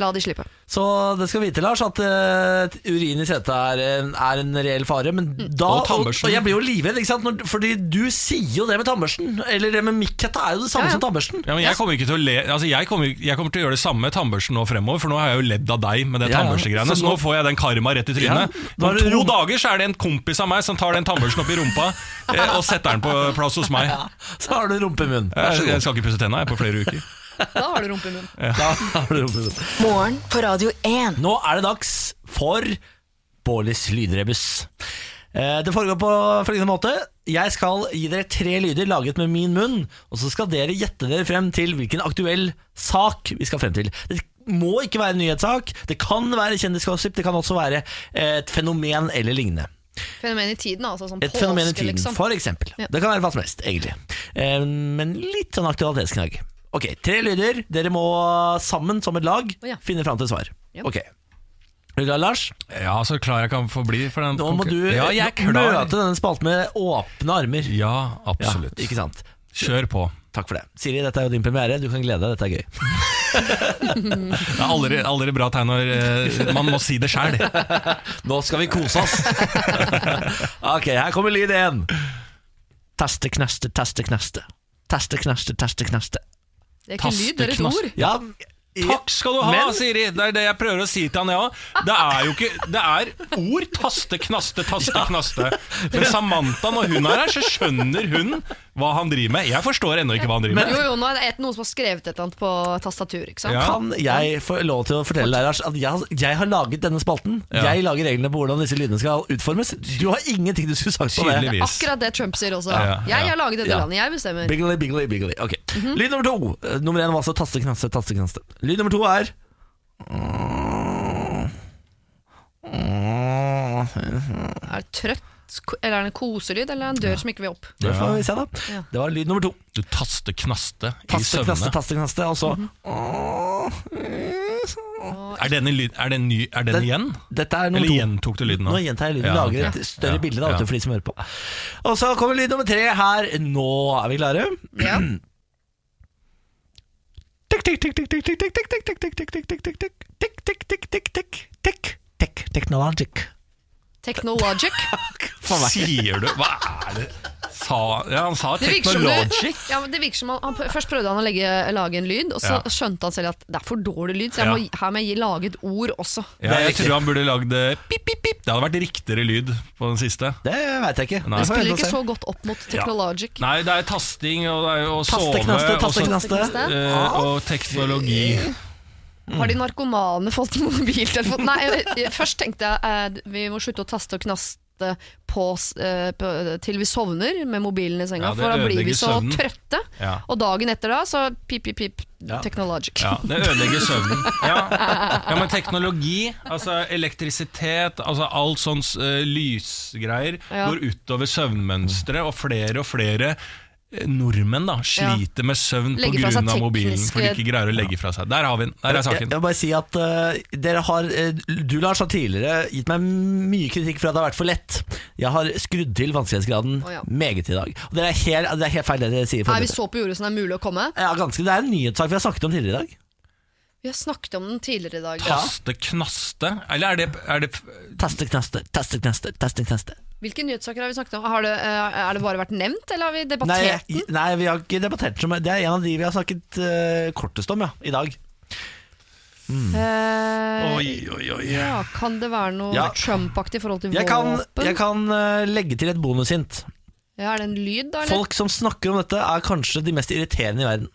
La de slippe. Så det skal vite, Lars, at eh, urin i setet er, en- er en reell fare. Men Mm. da, Og og, og tannbørsten. jeg blir jo livredd, ikke sant? Når, fordi du sier jo det med tannbørsten. Eller det med mikkhetta er jo det samme Ja, ja. som tannbørsten. Ja, men jeg kommer ikke til å le Altså jeg kommer, jeg kommer til å gjøre det samme med tannbørsten nå fremover, for nå har jeg jo ledd av deg med det Ja, ja. tannbørstegreiene, Så så nå nå- får jeg den karma rett i trynet. Ja, da er Om det to rom- dager så er det en kompis av meg som tar den tannbørsten opp i rumpa eh, og setter den på plass hos meg. Så har du rumpe i munnen. Vær så Jeg, jeg god. skal ikke pusse tenna jeg, på flere uker. Da har du rumpe i munnen. Da har du rumpe i munnen. Morgen på Radio 1. Nå er det dags for Bårlis lydrebus. Eh, Det foregår på følgende måte. Jeg skal gi dere tre lyder laget med min munn, og så skal dere gjette dere frem til hvilken aktuell sak vi skal frem til. Det må ikke være en nyhetssak, det kan være kjendisgossip, det kan også være eh, et fenomen eller lignende. Fenomen i tiden, altså. Sånn Et påske, fenomen i tiden, liksom. for eksempel. Ja. Det kan være hva som helst, egentlig. Eh, Men litt sånn aktualitetsknagg. Ok, tre lyder. Dere må sammen, som et lag, Å ja. finne fram til svar. Ja. Ok. Er du klar, Lars? Ja, så klar jeg kan få bli for den Nå må du konkur- Ja, jeg er klar. møte denne spalten med åpne armer. Ja, absolutt. Ja, ikke sant? Kjør på. Takk for det. Siri, dette er jo din premiere. Du kan glede deg. Dette er gøy. Det er aldri, aldri bra tegn når eh, man må si det sjæl. Nå skal vi kose oss. ok, her kommer lyd igjen. Teste, knaste, teste, knaste. Teste, knaste, teste, knaste. Det er ikke lyd, det er et ord. Ja, Takk skal du ha, Men- Siri! Det er det jeg prøver å si til han, jeg òg. Det er jo ikke Det er ord. Taste, knaste, taste, knaste. Men Samantha, når hun er her, så skjønner hun hva han driver med. Jeg forstår ennå ikke hva han driver med. jo, jo, nå er det et, noen som har skrevet et eller annet på tastatur. ikke sant? Kan jeg få lov til å fortelle deg, Lars, at jeg, jeg har laget denne spalten? Ja. Jeg lager reglene på hvordan disse lydene skal utformes. Du har ingenting du skulle sagt på det. Det er akkurat det Trump sier også. Ja, ja, Jeg har ja. laget dette Ja. landet, jeg bestemmer. Biggly, biggly, biggly. Ok. Lyd nummer to. Eh, Nummer én var altså taste, knaste, taste, knaste. Lyd nummer to er Er det trøtt, ko- eller er det en koselyd, eller er det en dør som ikke vil opp? Det får vi se, da. Ja. Det var lyd nummer to. Du taste, knaste i Taste, knaste, søvne. taste, knaste. Og så Er den, i lyd, er den, ny, er den Den- igjen? Dette er nummer Eller to. gjentok du lyden Nå gjentar jeg lyden. Ja, lager ok. et større Ja, bilde da, ja. vet du, for de som hører på. Og så kommer lyd nummer tre her. Nå er vi klare. Ja. Tikk, tikk, tikk, tikk, tikk, tikk, tikk, tikk, tikk, tikk, tikk, tikk, tikk, tikk, tikk, tikk, tikk, tikk, tikk, tikk, tikk, tikk, technologic. Technologic. Sier du Hva er det? Sa, ja, han sa Det virker som, du, teknologic. ja, men det virker som han, han, Først prøvde han å legge, lage en lyd, og så Ja. skjønte han selv at det er for dårlig lyd, så jeg Ja. må, her må jeg gi- lage et ord også. Ja, jeg riktig. tror han burde lagd eh, pip, pip, pip. Det hadde vært riktigere lyd på den siste. Det veit jeg ikke. Det sånn. får Nei. jeg Spiller vente og ikke se. så godt opp mot technologic. Nei, det er tasting og det er jo å sove Taste, knaste, og taste, så- knaste. eh, og teknologi. Har de narkomane fått mobiltelefon? Nei, jeg, jeg, først tenkte jeg eh, vi må slutte å taste og knaste på, s- eh, på, til vi sovner med mobilen i senga, Ja, det for da blir vi ødelegger så søvnen. trøtte. Ja. Og dagen etter da, så pip, pip, pip, technologic. Ja, det ødelegger søvnen. Ja. ja, men teknologi, altså elektrisitet, altså alt sånn eh, lysgreier Ja. går utover søvnmønsteret, og flere og flere eh, nordmenn da sliter med søvn Legger fra pga. seg mobilen, tekniske- for de ikke greier å legge fra seg. Der har vi den. Der er Jeg, jeg saken. vil bare si at eh, dere har eh, Du, Lars, har tidligere gitt meg mye kritikk for at det har vært for lett. Jeg har skrudd til vanskelighetsgraden Å, ja. meget i dag. Og det er helt, det er helt feil det dere sier. Er vi foreløpig. så på jordet som det er mulig å komme? Ja, ganske, det er en nyhetssak vi har snakket om tidligere i dag. Vi har snakket om den tidligere i dag. Taste, knaste Eller er det, er det Taste, knaste, taste, knaste, taste, knaste. Hvilke nyhetssaker har vi snakket om? Har det, eh, er det bare vært nevnt, eller har vi Nei, debattert? jeg- nei, vi har ikke debattert så mye. Det er en av de vi har snakket eh, kortest om, ja, i dag. Mm. Eh, Oi, oi, oi. ja, kan det være noe Ja. Trump-aktig i forhold til Jeg kan, våpen? jeg kan eh, legge til et bonushint. Ja, er det en lyd, da? Eller? Folk som snakker om dette, er kanskje de mest irriterende i verden.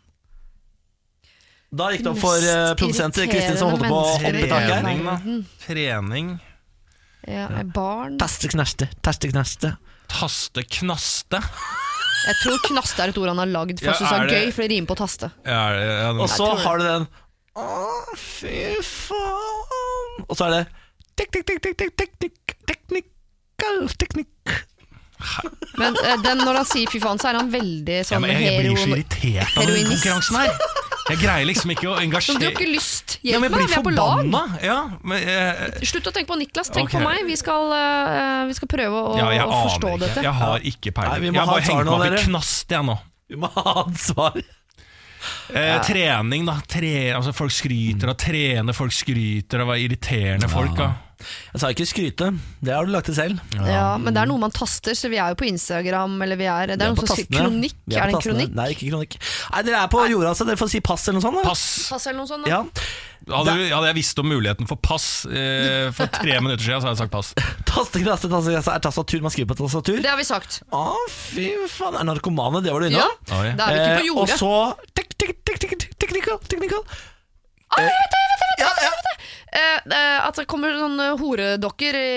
Da gikk det opp for eh, Mest produsent Kristin som holdt på å hoppe i irriterende mennesker i taket. verden. Trening, da. Trening. Ja, er barn Taste knaste, taste knaste. Taste, knaste. Jeg tror knaste er et ord han har lagd for Ja, å synes det er er det- gøy, for det rimer på taste. Ja, er det- ja, Og det- så har du den Å, fy faen. Og så er det tikk, tikk, tikk, tikk, tikk, tikk, tikk, teknikal, teknikk. Men eh, den, når han sier fy faen, så er han veldig ja, sånn men jeg blir så heroin... irritert av den heroinist. konkurransen her. Jeg greier liksom ikke å Men du har engasjere ikke lyst. Ja, Hjelp men jeg meg, blir vi er på lag. forbanna. Ja, men, eh, Slutt å tenke på Niklas, tenk Ok. på meg. Vi skal, eh, vi skal prøve å, ja, jeg å forstå aner ikke. dette. Jeg har ikke Nei, peiling. vi må Jeg ha bare et svar henger nå, meg opp i dere. knast, jeg nå. Vi må ha ansvar. Eh, trening, da. Tre, altså, folk skryter av å trene, folk skryter av å være irriterende folk. Da. Jeg sa ikke skryte, det har du lagt til selv. Ja, men det er noe man taster, så vi er jo på Instagram, eller vi er Det er, Vi noen på som skriver tastene. kronikk. Vi på Er, det en tastene. kronikk? Nei, ikke kronikk. Nei, dere er på jorda, så dere får si pass eller noe sånt. da. Pass. Pass eller noe sånt? Da. Ja. Hadde, du- hadde jeg visst om muligheten for pass eh, for tre minutter siden, så hadde jeg sagt pass. Tasteknaste, tasteknaste er tastatur. Man skriver på tastatur. Det har vi sagt. Å, fy faen. Er narkomane, det var du inne Ja, på? Da Oi. er vi ikke på Eh, jordet. Og så tek, tek, tek, tek, tek, Technical, technical. Ja, ja. Eh, eh, at det kommer sånne horedokker i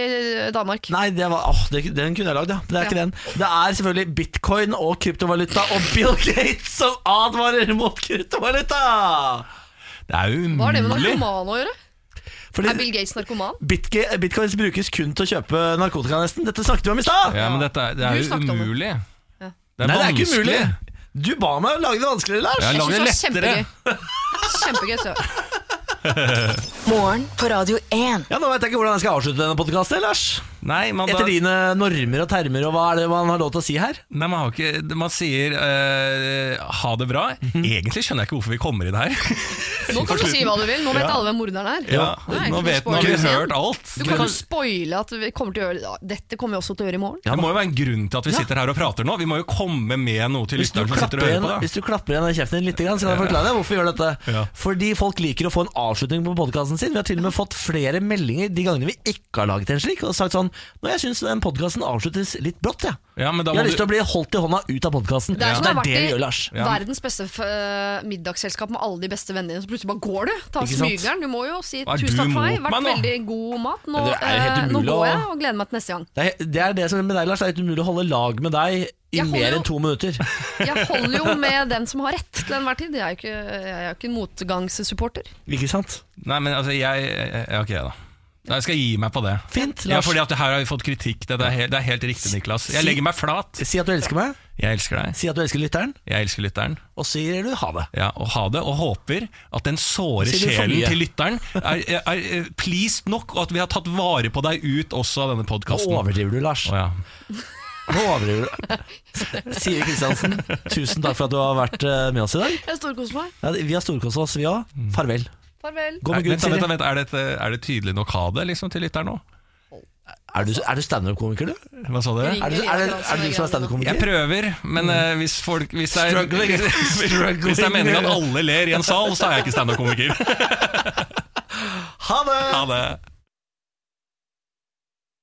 Danmark. Nei, det var, åh, det, den kunne jeg lagd, ja. Det er ikke den. Det er selvfølgelig bitcoin og kryptovaluta og Bill Gates som advarer mot kryptovaluta! Det er jo Hva har det med umulig. narkoman å gjøre? Er Fordi Bill Gates narkoman? bitge, bitcoins brukes kun til å kjøpe narkotika, nesten. Dette snakket vi om i stad! Ja, men dette er, det Du er jo snakket om det. umulig. Ja. Det Nei, det er ikke umulig. Du ba meg å lage det vanskeligere, Lars. Jeg Jeg lager det synes det var lettere. kjempegøy. Kjempegøy. Så. Morgen på Radio 1. Ja, Nå veit jeg ikke hvordan jeg skal avslutte denne podkasten, Lars. Nei, man, Etter dine normer og termer, og hva er det man har lov til å si her? Nei, Man, har ikke, man sier eh, ha det bra. Egentlig skjønner jeg ikke hvorfor vi kommer inn her. Nå kan På du si slutten. hva du vil. Nå vet Ja. alle hvem morderen er. Ja, Det er nå ikke noe vet- nå spoiler har vi igjen. hørt alt. Du Men- kan jo spoile at vi kommer til å gjøre ja, Dette kommer vi også til å gjøre i morgen. Det må jo være en grunn til at vi sitter her og prater nå. Vi må jo komme med noe til Hvis du, lytteren som sitter klapper og igjen, hører på. hvis du klapper igjen den kjeften din litt, grann, så kan jeg forklare deg hvorfor vi gjør dette. Fordi folk liker å få en avslutning på podkasten sin. Vi har til og med fått flere meldinger de gangene vi ikke har laget en slik, og sagt sånn Nå, jeg syns den podkasten avsluttes litt brått, jeg. Ja, men da jeg har må lyst til du- å bli holdt i hånda ut av podkasten. Det er som det har det vi vært i gjør, Lars. verdens beste f eh, middagsselskap med alle de beste vennene dine. Så plutselig bare går du. Ta Ikke sant? smygeren. Du må jo si Hva er 'tusen du takk for meg'. mot meg Vært nå? veldig god mat. Nå, Det er jo helt eh, nå umulig går jeg å- og gleder meg til neste gang. Det er, det er det som er med deg, Lars. Det er helt umulig å holde lag med deg i Jeg holder mer jo- enn to minutter. Jeg holder jo med den som har rett til enhver tid. Jeg er jo ikke, jeg er jo ikke en motgangssupporter. Ikke sant? Nei, men altså, jeg ja, Ok, da. Nei, Jeg skal gi meg på det. Fint, ja, Lars. fordi at Her har vi fått kritikk. Dette er helt, det er helt riktig, Niklas. Jeg Si- legger meg flat. Si at du elsker meg. Jeg elsker deg. Si at du elsker lytteren. Jeg elsker lytteren. Og sier du ha det. Ja, og ha det, og håper at den såre Sier du for sjelen mye? til lytteren er, er, er pleased nok, og at vi har tatt vare på deg ut også av denne podkasten. Nå overdriver du, Lars. Å, ja. Nå overdriver du. Siri Kristiansen, tusen takk for at du har vært eh, med oss i dag. Jeg storkoser meg. Ja, vi har storkost oss, vi òg. Farvel. Farvel. Gå med Er, Gud, vent, da, vent, da, Mm. Siri. vent, er, det, et, er det tydelig nok ha det liksom, til lytteren nå? Er du, er du standup-komiker, du? Hva sa dere? Er det, er, det, er det du som er Jeg standup-komiker? prøver, men eh, hvis, folk, hvis, det er, Struggling. hvis det er meningen at Struggling. alle ler i en sal, så er jeg ikke standup-komiker. Ha det! Ha det!